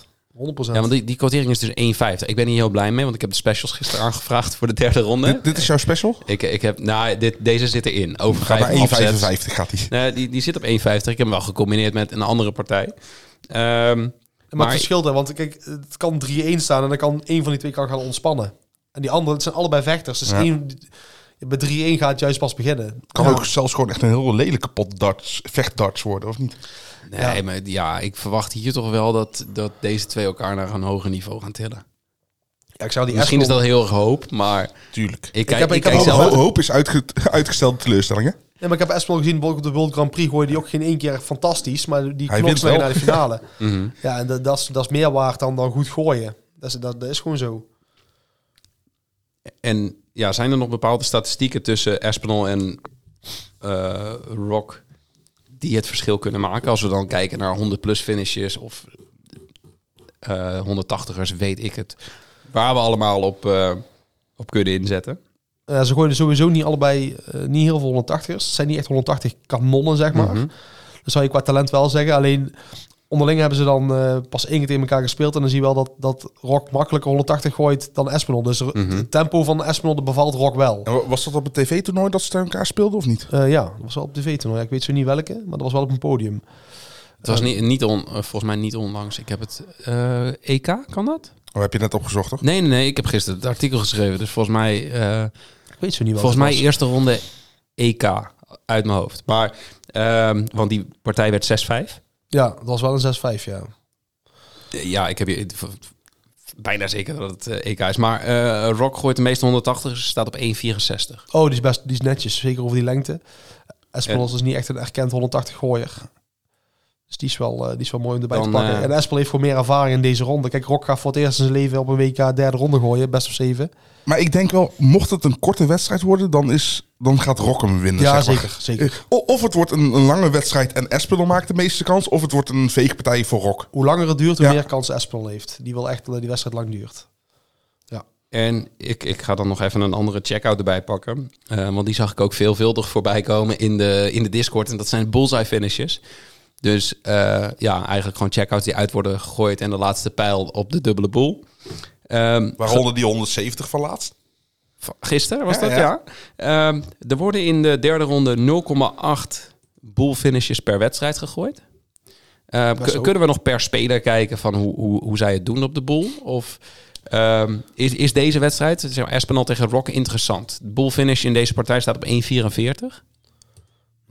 Speaker 9: 100%. 100%.
Speaker 7: Ja, want die, die quotering is dus 1,50. Ik ben hier heel blij mee, want ik heb de specials gisteren aangevraagd voor de derde ronde.
Speaker 8: Dit, dit is jouw special?
Speaker 7: Ik, ik heb, nou, dit, deze zit erin. Over
Speaker 8: Gaat naar
Speaker 7: 5,5 sets.
Speaker 8: 1,55 gaat hij.
Speaker 7: Nee, die, die zit op 1,50. Ik heb hem wel gecombineerd met een andere partij. Ehm,
Speaker 9: Maar,
Speaker 7: Maar-
Speaker 9: het verschil daar, want kijk, het kan 3-1 staan en dan kan één van die twee kan gaan ontspannen. En die andere, het zijn allebei vechters. Dus
Speaker 8: Ja.
Speaker 9: één, bij 3-1 gaat het juist pas beginnen.
Speaker 8: Kan
Speaker 9: Ja.
Speaker 8: ook zelfs gewoon echt een heel lelijke pot darts, vechtdarts worden, of niet?
Speaker 7: Nee, maar ja, ik verwacht hier toch wel dat, dat deze twee elkaar naar een hoger niveau gaan tillen.
Speaker 9: Ja, ik zou die
Speaker 7: Misschien is
Speaker 9: Ashton-
Speaker 7: dat heel erg hoop, maar
Speaker 8: Tuurlijk.
Speaker 7: ik kijk,
Speaker 9: heb-
Speaker 7: ik
Speaker 9: ik heb
Speaker 7: kijk
Speaker 9: ook
Speaker 7: zelf...
Speaker 9: hoop.
Speaker 8: Ho- Hoop is uitge uitgestelde teleurstellingen.
Speaker 9: Nee, maar ik heb Espel gezien, bijvoorbeeld op de World Grand Prix gooide die ook geen één keer fantastisch, maar die
Speaker 8: Hij
Speaker 9: knokt
Speaker 8: wint
Speaker 9: mee
Speaker 8: wel. Mhm.
Speaker 9: naar de finale. Ja, en dat, dat, is, dat is meer waard dan, dan goed gooien. Dat is, dat, dat is gewoon zo.
Speaker 7: En ja, zijn er nog bepaalde statistieken tussen Espinol en eh, Rock die het verschil kunnen maken? Als we dan kijken naar 100-plus finishes of eh 180ers, weet ik het. Waar we allemaal op, eh, op kunnen inzetten.
Speaker 9: Eh, ze gooiden sowieso niet allebei, eh, niet heel veel 180ers. Het zijn niet echt 180 kanonnen, zeg maar.
Speaker 8: Mhm.
Speaker 9: Dat zou je qua talent wel zeggen. Alleen onderling hebben ze dan eh, pas één keer tegen elkaar gespeeld. En dan zie je wel dat, dat Rock makkelijker 180 gooit dan Espinol. Dus er-
Speaker 8: Mhm.
Speaker 9: het tempo van Espinol dat bevalt Rock wel.
Speaker 8: En wa- Was dat op een tv-toernooi dat ze tegen elkaar speelden of niet?
Speaker 9: Eh, ja, dat was wel op tv-toernooi. Ik weet zo niet welke, maar dat was wel op een podium.
Speaker 7: Het was niet, niet on, eh, volgens mij niet onlangs. Ik heb het eh, EK, kan dat?
Speaker 8: Oh, heb je net opgezocht, toch?
Speaker 7: Nee, nee, nee. Ik heb gisteren het artikel geschreven. Dus volgens mij, eh,
Speaker 9: Ik weet zo niet welke.
Speaker 7: volgens mij
Speaker 9: het
Speaker 7: eerste ronde EK uit mijn hoofd. Maar, ehm, want die partij werd 6-5.
Speaker 9: was. Ja, dat was wel een 6-5, ja.
Speaker 7: Eh, Ja, ik heb je v- v- bijna zeker dat het eh, EK is. Maar eh, Rock gooit de meeste 180, dus staat op 1,64.
Speaker 9: Oh, die is best die is netjes, zeker over die lengte. Espel
Speaker 7: En-
Speaker 9: is niet echt een erkend 180 gooier. Dus die is wel, eh, die is wel mooi om erbij
Speaker 7: Dan,
Speaker 9: te pakken.
Speaker 7: eh,
Speaker 9: en Espel heeft gewoon meer ervaring in deze ronde. Kijk, Rock gaat voor het eerst in zijn leven op een WK derde ronde gooien, best of zeven.
Speaker 8: Maar ik denk wel, mocht het een korte wedstrijd worden, dan, is, dan gaat Rock hem winnen.
Speaker 9: Ja,
Speaker 8: zeg maar.
Speaker 9: zeker, zeker.
Speaker 8: Eh, o- Of het wordt een, een lange wedstrijd en Espinel maakt de meeste kans, of het wordt een veegpartij voor Rock.
Speaker 9: Hoe langer het duurt, hoe
Speaker 8: Ja.
Speaker 9: meer kans Espel heeft. Die wil echt dat die wedstrijd lang duurt.
Speaker 7: En ik, ik ga dan nog even een andere checkout erbij pakken. Eh, want die zag ik ook veelvuldig voorbij komen in de, in de Discord. En dat zijn bullseye finishes. Dus eh, ja, eigenlijk gewoon checkouts die uit worden gegooid. En de laatste pijl op de dubbele boel. Ehm,
Speaker 8: Waaronder die 170 van laatst.
Speaker 7: Van Gisteren was
Speaker 8: Ja,
Speaker 7: dat, ja.
Speaker 8: ja.
Speaker 7: Ehm, er worden in de derde ronde 0,8 boel finishes per wedstrijd gegooid. Ehm,
Speaker 9: Best
Speaker 7: kun-
Speaker 9: ook.
Speaker 7: kunnen we nog per speler kijken van hoe, hoe, hoe zij het doen op de boel? Of ehm, is, is deze wedstrijd, zeg maar, Espinal tegen Rock, interessant? De boel finish in deze partij staat op 1,44.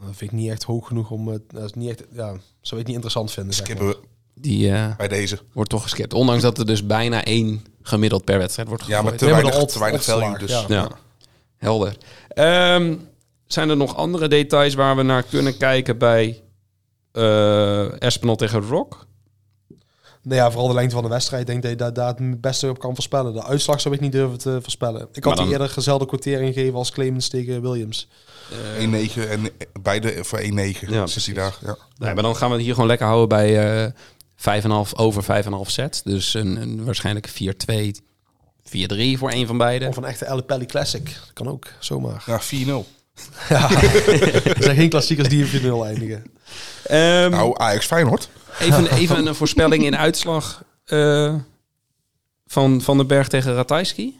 Speaker 9: Dat vind ik niet echt hoog genoeg om het. Dat is niet echt, ja, zou ik niet interessant vinden. Zeg maar.
Speaker 8: Kippen we
Speaker 7: Die eh,
Speaker 8: bij deze.
Speaker 7: wordt toch geskipt. Ondanks dat er dus bijna één gemiddeld per wedstrijd wordt
Speaker 8: Ja,
Speaker 7: gegooid.
Speaker 8: maar te
Speaker 9: Nee, maar de
Speaker 8: weinig,
Speaker 9: odds-
Speaker 8: te weinig
Speaker 9: oddsslag,
Speaker 8: value dus.
Speaker 9: ja.
Speaker 7: Ja, helder. Ehm, zijn er nog andere details waar we naar kunnen kijken bij eh Espinal tegen Rock?
Speaker 9: Nou ja, vooral de lengte van de wedstrijd. Ik denk dat je daar, daar het beste op kan voorspellen. De uitslag zou ik niet durven te voorspellen. Ik
Speaker 7: Maar
Speaker 9: had
Speaker 7: dan-
Speaker 9: die eerder dezelfde quotering gegeven als Clemens tegen Williams.
Speaker 8: 1-9 en beide voor 1-9
Speaker 7: Ja,
Speaker 8: sinds die dag. Ja.
Speaker 7: Nee, maar dan gaan we het hier gewoon lekker houden bij eh 5,5 over 5,5 sets. Dus een, een waarschijnlijk 4-2, 4-3 voor een van beide.
Speaker 9: Of een echte El Pelli Classic. Dat kan ook, zomaar.
Speaker 8: Ja, 4-0.
Speaker 9: Er zijn geen klassiekers die in 4-0 eindigen.
Speaker 7: Ehm,
Speaker 8: Nou, Ajax Feyenoord.
Speaker 7: even, even een voorspelling in uitslag eh, van Van den Berg tegen Ratajski.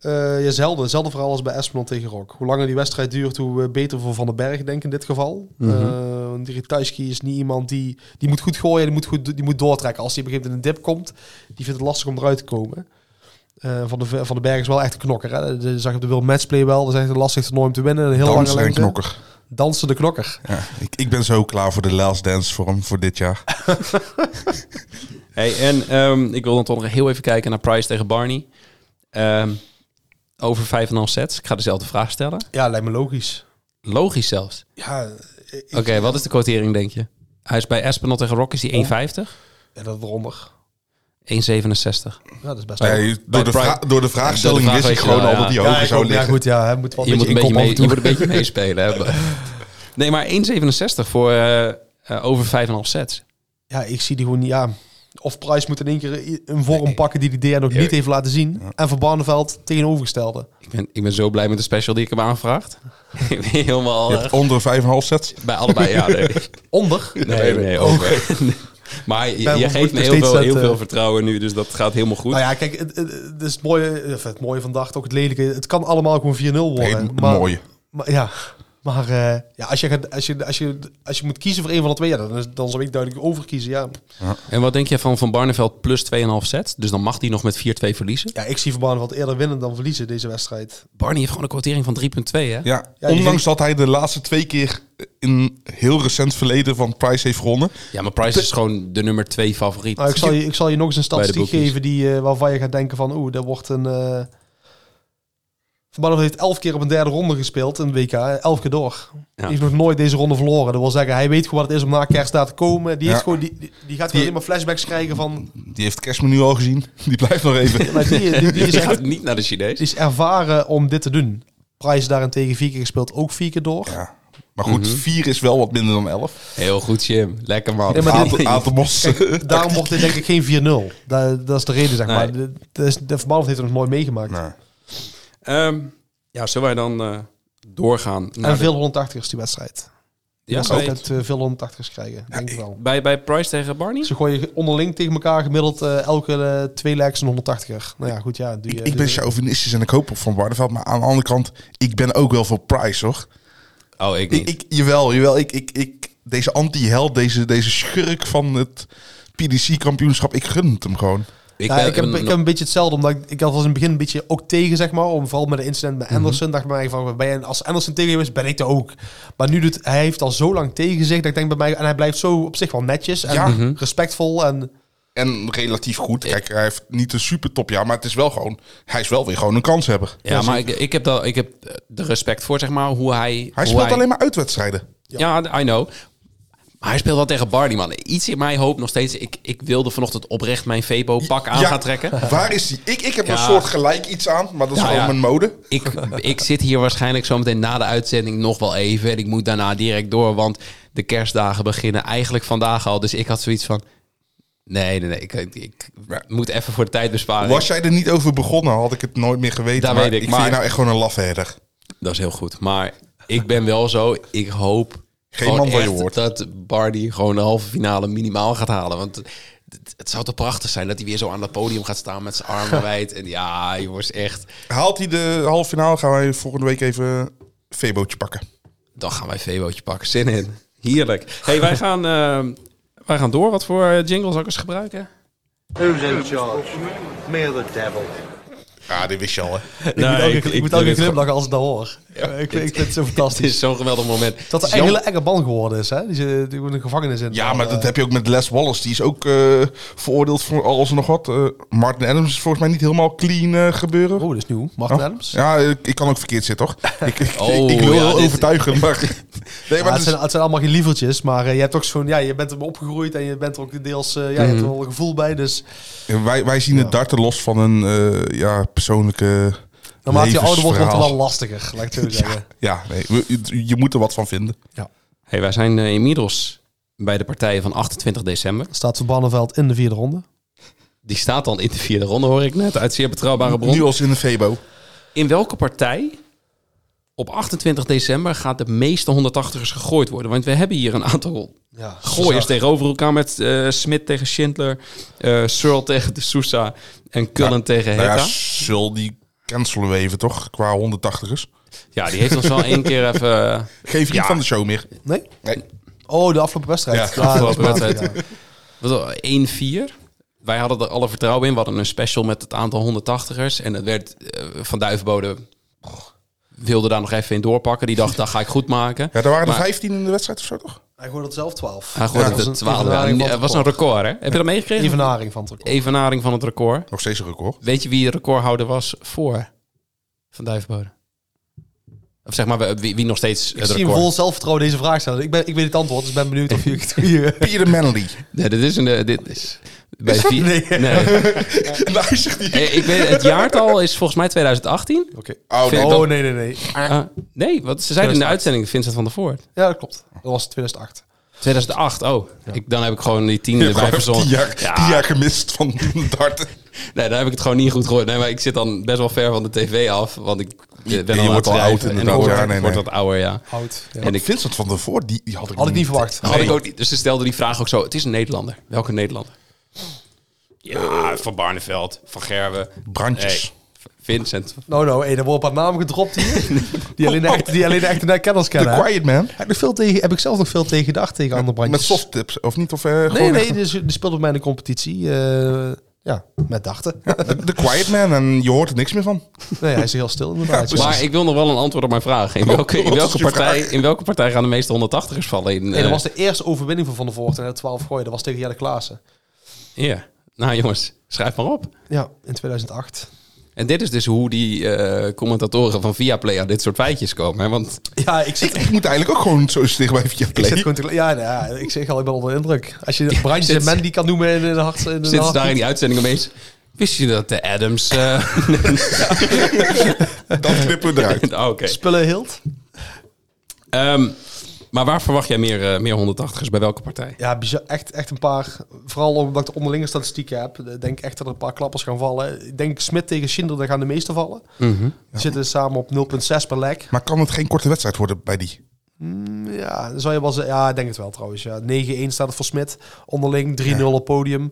Speaker 9: Eh ja, zelden. Zelden verhaal als bij Espelon tegen Rock. Hoe langer die wedstrijd duurt, hoe eh, beter voor Van den Berg, denk ik in dit geval. Eh want die Rituiski is niet iemand die... Die moet goed gooien, die moet, goed, die moet doortrekken. Als hij op een gegeven moment in een dip komt, die vindt het lastig om eruit te komen. Eh, van, de, van den Berg is wel echt een knokker. Hè? Dat zag je op de World Matchplay wel. Dat is echt een lastig toernooi om te winnen. Een heel
Speaker 8: Dan
Speaker 9: lange
Speaker 8: zijn
Speaker 9: lengte.
Speaker 8: knokker.
Speaker 9: Dansen de knokker.
Speaker 8: Ja, ik, ik ben zo klaar voor de Last Dance voor hem voor dit jaar.
Speaker 7: Hey, en ehm, ik wil dan toch nog heel even kijken naar Price tegen Barney. Ehm, over 5,5 sets. Ik ga dezelfde vraag stellen.
Speaker 9: Ja, lijkt me logisch.
Speaker 7: Logisch zelfs.
Speaker 9: Ja, ik-
Speaker 7: Oké, wat is de quotering, denk je? Hij is bij Espinol tegen Rock is die 1,50?
Speaker 9: ja, dat eronder.
Speaker 7: 1,67.
Speaker 9: Ja, dat is best wel.
Speaker 8: Nee, door, de
Speaker 7: Pride-
Speaker 8: vra- door de vraagstelling
Speaker 7: Door de vraag
Speaker 8: wist ik
Speaker 7: weet je
Speaker 8: gewoon
Speaker 7: wel,
Speaker 8: al dat die
Speaker 7: ja.
Speaker 8: hoger
Speaker 9: ik
Speaker 8: zou
Speaker 9: ook. ja,
Speaker 8: liggen.
Speaker 9: goed, ja, hij moet wel
Speaker 7: Je moet, een beetje
Speaker 9: inkopen
Speaker 7: mee,
Speaker 9: af en
Speaker 7: je
Speaker 9: toe.
Speaker 7: moet een beetje meespelen. hè. Nee, maar 1,67 voor eh, eh, over 5,5 sets.
Speaker 9: Ja, ik zie die gewoon niet. Ja. Of Price moet in één keer i- een vorm pakken die die DR nog niet heeft laten zien. En Van Barneveld tegenovergestelde.
Speaker 7: Ik ben, ik ben zo blij met de special die ik heb aangevraagd. ik ben helemaal
Speaker 8: Je
Speaker 7: eh,
Speaker 8: hebt onder 5,5 sets.
Speaker 7: bij allebei. Ja, nee.
Speaker 9: Onder.
Speaker 7: Nee, nee, over. Nee. Maar je,
Speaker 9: Ja,
Speaker 7: je
Speaker 9: we
Speaker 7: geeft
Speaker 9: moeten
Speaker 7: me heel
Speaker 9: steeds
Speaker 7: veel,
Speaker 9: dat,
Speaker 7: heel
Speaker 9: eh,
Speaker 7: veel vertrouwen nu, dus dat gaat helemaal goed.
Speaker 9: Nou ja, kijk, het, het, het is het mooie, of het mooie vandaag, ook het lelijke. Het kan allemaal gewoon 4-0 worden.
Speaker 8: Nee, m-
Speaker 9: maar,
Speaker 8: mooie.
Speaker 9: Maar, ja, Maar eh, ja, als, je gaat, als, je, als, je, als je moet kiezen voor een van de twee, ja, dan, is- dan zou ik duidelijk overkiezen. Ja.
Speaker 7: En wat denk je van Van Barneveld plus 2,5 sets? Dus dan mag die nog met 4-2 verliezen.
Speaker 9: ja, ik zie Van Barneveld eerder winnen dan verliezen deze wedstrijd.
Speaker 7: Barney heeft gewoon een quotering van 3,2 hè?
Speaker 8: Ja,
Speaker 9: Ja, die
Speaker 8: ondanks
Speaker 9: ging-
Speaker 8: dat hij de laatste twee keer in heel recent verleden van Price heeft gewonnen.
Speaker 7: Ja, maar Price is gewoon de nummer 2 favoriet.
Speaker 9: Nou, ik, zal je, ik zal je nog eens een statistiek
Speaker 7: bookies.
Speaker 9: geven die, eh, waarvan je gaat denken van... Oeh, dat wordt een... eh Van Barneveld heeft elf keer op een derde ronde gespeeld in het WK. Elf keer door.
Speaker 7: Ja.
Speaker 9: Hij heeft nog nooit deze ronde verloren. Dat wil zeggen, hij weet gewoon wat het is om na kerstdaad te komen. Die, heeft
Speaker 8: Ja.
Speaker 9: gewoon, die, die, die gaat weer helemaal flashbacks krijgen van...
Speaker 8: Die heeft kerstmenu al gezien. Die blijft nog even.
Speaker 9: Maar die, die, die is
Speaker 7: Je
Speaker 9: echt-
Speaker 7: gaat niet naar de Chinees.
Speaker 9: die is ervaren om dit te doen. Price daarentegen vier keer gespeeld, ook vier keer door.
Speaker 8: Ja. Maar goed, vier is wel wat minder dan elf.
Speaker 7: Heel goed, Jim. Lekker man.
Speaker 9: Mhm. Ja, maar dit-
Speaker 8: Aantal, aantal bossen.
Speaker 9: Daarom wordt dit denk ik geen 4-0. Dat, dat is de reden, zeg
Speaker 7: Nee.
Speaker 9: maar. De, de, de Van Barneveld heeft het nog nooit meegemaakt.
Speaker 8: Nou,
Speaker 7: Ehm, ja, zullen wij dan eh, doorgaan? naar
Speaker 9: en
Speaker 7: Nou, de-
Speaker 9: veel 180 is die wedstrijd.
Speaker 7: Ja,
Speaker 9: Ja, ze
Speaker 7: bij-
Speaker 9: ook het eh, veel 180 krijgen, denk ik wel.
Speaker 7: bij, bij Price tegen Barney?
Speaker 9: Ze gooien onderling tegen elkaar gemiddeld eh, elke eh, twee legs een 180er. Nou ja, goed, ja. doe je-
Speaker 8: ik, ik
Speaker 9: doe
Speaker 8: ben
Speaker 9: je-
Speaker 8: chauvinistisch en ik hoop op Van Barneveld. Maar aan de andere kant, ik ben ook wel voor Price, hoor.
Speaker 7: Oh, ik
Speaker 8: Ik,
Speaker 7: niet.
Speaker 8: ik, jawel, jawel. Ik, ik, ik, deze anti-held, deze, deze schurk van het PDC-kampioenschap, ik gun het hem gewoon.
Speaker 7: Ik
Speaker 9: Ja,
Speaker 7: ben-
Speaker 9: ik, heb,
Speaker 7: een-
Speaker 9: ik heb een beetje hetzelfde, omdat ik, ik was in het begin een beetje ook tegen, zeg maar. Om, vooral met de incident
Speaker 8: Mhm.
Speaker 9: met Anderson. Dacht ik bij mij van, ben je, als Anderson tegen hem is, ben ik er ook. Maar nu doet, hij heeft al zo lang tegen zich, dat ik denk bij mij... En hij blijft zo op zich wel netjes en
Speaker 8: Ja.
Speaker 7: Mhm.
Speaker 9: respectvol. En
Speaker 8: En relatief goed. Kijk, hij heeft niet een super topjaar, maar het is wel gewoon... Hij is wel weer gewoon een kanshebber.
Speaker 7: ja, maar ik, ik, heb dat, ik heb eh, de respect voor, zeg maar, hoe hij...
Speaker 8: Hij
Speaker 7: hoe
Speaker 8: speelt alleen maar uitwedstrijden.
Speaker 7: Ja, I know. Maar hij speelt wel tegen Barney, man. Iets in mij hoopt nog steeds... Ik, ik wilde vanochtend oprecht mijn Vepo-pak aan
Speaker 8: Ja,
Speaker 7: gaan trekken.
Speaker 8: Waar is die? Ik, ik heb
Speaker 7: Ja.
Speaker 8: een soort gelijk iets aan, maar dat is
Speaker 7: Ja,
Speaker 8: gewoon
Speaker 7: ja.
Speaker 8: mijn mode.
Speaker 7: Ik, ik zit hier waarschijnlijk zometeen na de uitzending nog wel even. En ik moet daarna direct door, want de kerstdagen beginnen eigenlijk vandaag al. Dus ik had zoiets van... Nee, nee, nee. Ik, ik, ik moet even voor de tijd besparen.
Speaker 8: Was jij er niet over begonnen, had ik het nooit meer geweten.
Speaker 7: Dat
Speaker 8: maar
Speaker 7: weet ik,
Speaker 8: ik
Speaker 7: maar-
Speaker 8: vind je nou echt gewoon een lafherder.
Speaker 7: Dat is heel goed. Maar ik ben wel zo. Ik hoop gewoon
Speaker 8: man van je
Speaker 7: echt
Speaker 8: woord.
Speaker 7: dat Bardi gewoon de halve finale minimaal gaat halen. Want het, het zou toch prachtig zijn dat hij weer zo aan dat podium gaat staan met zijn armen wijd. En ja, jongens, echt.
Speaker 8: Haalt hij de halve finale, gaan wij volgende week even een Febootje pakken.
Speaker 7: Dan gaan wij Veebootje pakken. Zin in. Heerlijk. hey, wij, gaan, eh, wij gaan door. Wat voor eh, jingle zal ik eens gebruiken?
Speaker 4: Who's in charge? Me or the devil?
Speaker 8: Ja, dit wist je al, hè?
Speaker 9: ik moet elke,
Speaker 7: ik-
Speaker 9: ik,
Speaker 7: ik
Speaker 9: moet
Speaker 7: doe
Speaker 9: elke
Speaker 7: dit
Speaker 9: glimlachen als ik dat hoor. ik, ik vind het zo
Speaker 7: Het
Speaker 9: fantastisch.
Speaker 7: is zo'n geweldig moment.
Speaker 9: Dat
Speaker 7: Het
Speaker 9: er
Speaker 7: is
Speaker 9: een
Speaker 7: jammer-
Speaker 9: hele enge man geworden is, hè? Die zit die wordt in de gevangenis in.
Speaker 8: Ja, maar
Speaker 9: Eh,
Speaker 8: dat heb je ook met Les Wallace. Die is ook eh, veroordeeld voor alles en nog wat. Eh, Martin Adams is volgens mij niet helemaal clean eh, gebeuren.
Speaker 9: Oh, dat is nieuw. Martin
Speaker 8: Oh.
Speaker 9: Adams.
Speaker 8: Ja, ik, ik kan ook verkeerd zitten, toch? ik, ik,
Speaker 7: Oh,
Speaker 8: ik wil
Speaker 7: ja,
Speaker 8: wel
Speaker 7: dit-
Speaker 8: overtuigen, maar... Nee,
Speaker 9: Ja,
Speaker 8: maar
Speaker 9: het,
Speaker 8: dus het is,
Speaker 9: zijn, het zijn allemaal geen lievertjes, maar eh, je hebt ook zo'n, ja, je bent hem opgegroeid en je bent er ook deels, eh, ja, je
Speaker 8: Mhm.
Speaker 9: hebt er wel een gevoel bij. Dus
Speaker 8: wij, wij zien het darten los van een eh, ja, persoonlijke
Speaker 9: naarmate je ouder wordt, wordt het wel
Speaker 8: levensverhaal.
Speaker 9: lastiger, laat ik het zo zeggen.
Speaker 8: Ja, nee, we- je- je moet er wat van vinden.
Speaker 7: hey, wij zijn eh, inmiddels bij de partijen van 28 december.
Speaker 9: Staat Van Barneveld in de vierde ronde.
Speaker 7: Die staat dan in de vierde ronde, hoor ik net. Uit zeer betrouwbare bron.
Speaker 8: Nu als in de Febo.
Speaker 7: In welke partij op 28 december gaat de meeste 180ers gegooid worden? Want we hebben hier een aantal
Speaker 9: Ja,
Speaker 7: gooiers tegenover elkaar met eh Smit tegen Schindler, eh Searle tegen de Sousa en Cullen tegen
Speaker 8: Nou
Speaker 7: Heta. ja.
Speaker 8: ja, Sul, die cancelen we even, toch? Qua 180ers.
Speaker 7: die heeft ons wel één keer even... eh,
Speaker 8: Geef je niet van de show meer.
Speaker 9: Nee?
Speaker 8: Nee.
Speaker 9: Oh, de afgelopen wedstrijd. dat
Speaker 8: Ja,
Speaker 9: is
Speaker 7: afgelopen
Speaker 9: maar-
Speaker 7: wedstrijd.
Speaker 9: ja.
Speaker 7: Wat, 1-4. Wij hadden er alle vertrouwen in. We hadden een special met het aantal 180ers. En het werd eh, Van Duivenbode... wilde daar nog even in doorpakken. Die dacht, dat ga ik goed maken.
Speaker 8: Ja, er waren er
Speaker 7: Maar-
Speaker 8: 15 in de wedstrijd of zo, toch?
Speaker 9: Hij gooit het zelf 12.
Speaker 7: Hij gooit
Speaker 9: Ja,
Speaker 7: het
Speaker 9: was
Speaker 7: de
Speaker 9: een
Speaker 7: 12 jaar.
Speaker 9: evenaring van
Speaker 7: Het
Speaker 9: het
Speaker 7: was een record, hè? Heb je dat meegekregen?
Speaker 9: Evenaring van het record.
Speaker 7: Evenaring van het record.
Speaker 8: Nog steeds een record.
Speaker 7: Weet je wie de recordhouder was voor Van Duivenbode? Of zeg maar, wie, wie nog steeds
Speaker 9: Ik
Speaker 7: het
Speaker 9: zie hem
Speaker 7: record...
Speaker 9: vol zelfvertrouwen deze vraag stellen. Ik, ben, ik weet het antwoord, dus ik ben benieuwd of jullie het hier...
Speaker 8: Peter Manley.
Speaker 7: Nee, dit is een... eh, Dit is... Bij vier... Nee.
Speaker 8: nou, zegt hij.
Speaker 7: Eh, Ik weet, het jaartal is volgens mij 2018.
Speaker 9: Oké.
Speaker 8: Oh, nee,
Speaker 7: Vind-
Speaker 8: dat-
Speaker 9: Oh, nee, nee, nee.
Speaker 7: Ah, nee, wat, ze zeiden in de uitzending Vincent van der Voort.
Speaker 9: Ja, dat klopt. Dat was 2008.
Speaker 7: 2008, oh. Ik, dan heb ik gewoon die tien
Speaker 8: ik
Speaker 7: erbij
Speaker 8: heb tien
Speaker 7: verzonnen.
Speaker 8: jaar, tien jaar gemist van darten.
Speaker 7: Nee, daar heb ik het gewoon niet goed gehoord. Nee, maar ik zit dan best wel ver van de tv af. Want ik eh, ben al
Speaker 8: je
Speaker 7: aan het
Speaker 8: wordt wel
Speaker 7: schrijven
Speaker 8: oud
Speaker 7: en
Speaker 8: inderdaad.
Speaker 7: word-
Speaker 8: Ja, nee,
Speaker 7: word
Speaker 8: nee.
Speaker 7: wat ouder, ja.
Speaker 9: Oud. Ja.
Speaker 7: En ik-
Speaker 8: En ik, Vincent van der Voort, die, die had ik
Speaker 9: Had ik niet verwacht.
Speaker 7: Had ik ook niet. Dus ze stelden die vraag ook zo. Het is een Nederlander. Welke Nederlander? Ja, Van Barneveld, Van Gerwen.
Speaker 8: Brandjes.
Speaker 7: Nee, Vincent.
Speaker 9: Nou, nou, hey, er wordt een paar namen gedropt hier. die, alleen de echte, die alleen de echte Nederlanders
Speaker 8: The
Speaker 9: kennen. hè?
Speaker 8: Quiet Man.
Speaker 9: Heb ik, veel tegen, heb ik zelf nog veel tegen gedacht tegen andere bandjes.
Speaker 8: Met soft tips, of niet? Of, eh, gewoon
Speaker 9: Nee,
Speaker 8: echt-
Speaker 9: nee, die, is- die speelde bij mij in de competitie. eh, ja, met dachten.
Speaker 8: De, de Quiet Man en je hoort er niks meer van.
Speaker 9: nee, hij is heel stil inderdaad.
Speaker 8: precies.
Speaker 7: Maar ik wil nog wel een antwoord op mijn vraag. In welke, in welke, partij, in welke partij gaan de meeste 180ers vallen? In,
Speaker 9: Nee,
Speaker 7: eh,
Speaker 9: dat was de eerste overwinning van Van der Voort en het 12 gooien. Dat was tegen Jelle Klaassen.
Speaker 7: ja. Nou jongens, schrijf maar op.
Speaker 9: Ja, in 2008.
Speaker 7: En dit is dus hoe die eh, commentatoren van Viaplay aan dit soort feitjes komen. Hè? Want
Speaker 9: Ja, ik zit...
Speaker 8: Ik moet eigenlijk ook gewoon zo eens tegen bij via
Speaker 9: Ik zit
Speaker 8: play.
Speaker 9: gewoon te, ja, nou ja, ik zeg al, ik ben onder de indruk. Als je Brandjes en
Speaker 7: sinds-
Speaker 9: Mandy kan noemen in een hart... In een
Speaker 7: zitten ze
Speaker 9: hart-
Speaker 7: daar in die uitzending opeens... Wist je dat de Adams... eh,
Speaker 8: Dan knippen we eruit.
Speaker 7: Oh, Oké.
Speaker 9: Spullen hield.
Speaker 7: Ehm, maar waar verwacht jij meer, eh, meer 180ers? Bij welke partij?
Speaker 9: Ja, bizar, echt, echt een paar. Vooral omdat ik de onderlinge statistieken heb. Ik denk echt dat er een paar klappers gaan vallen. Ik denk Smit tegen Schindler, daar gaan de meeste vallen. Die zitten samen op 0,6 per lek.
Speaker 8: Maar kan het geen korte wedstrijd worden bij die?
Speaker 9: Ja, dan zou je wel zeggen. Ja, ik denk het wel trouwens. Ja. 9-1 staat het voor Smit. Onderling 3-0 op podium.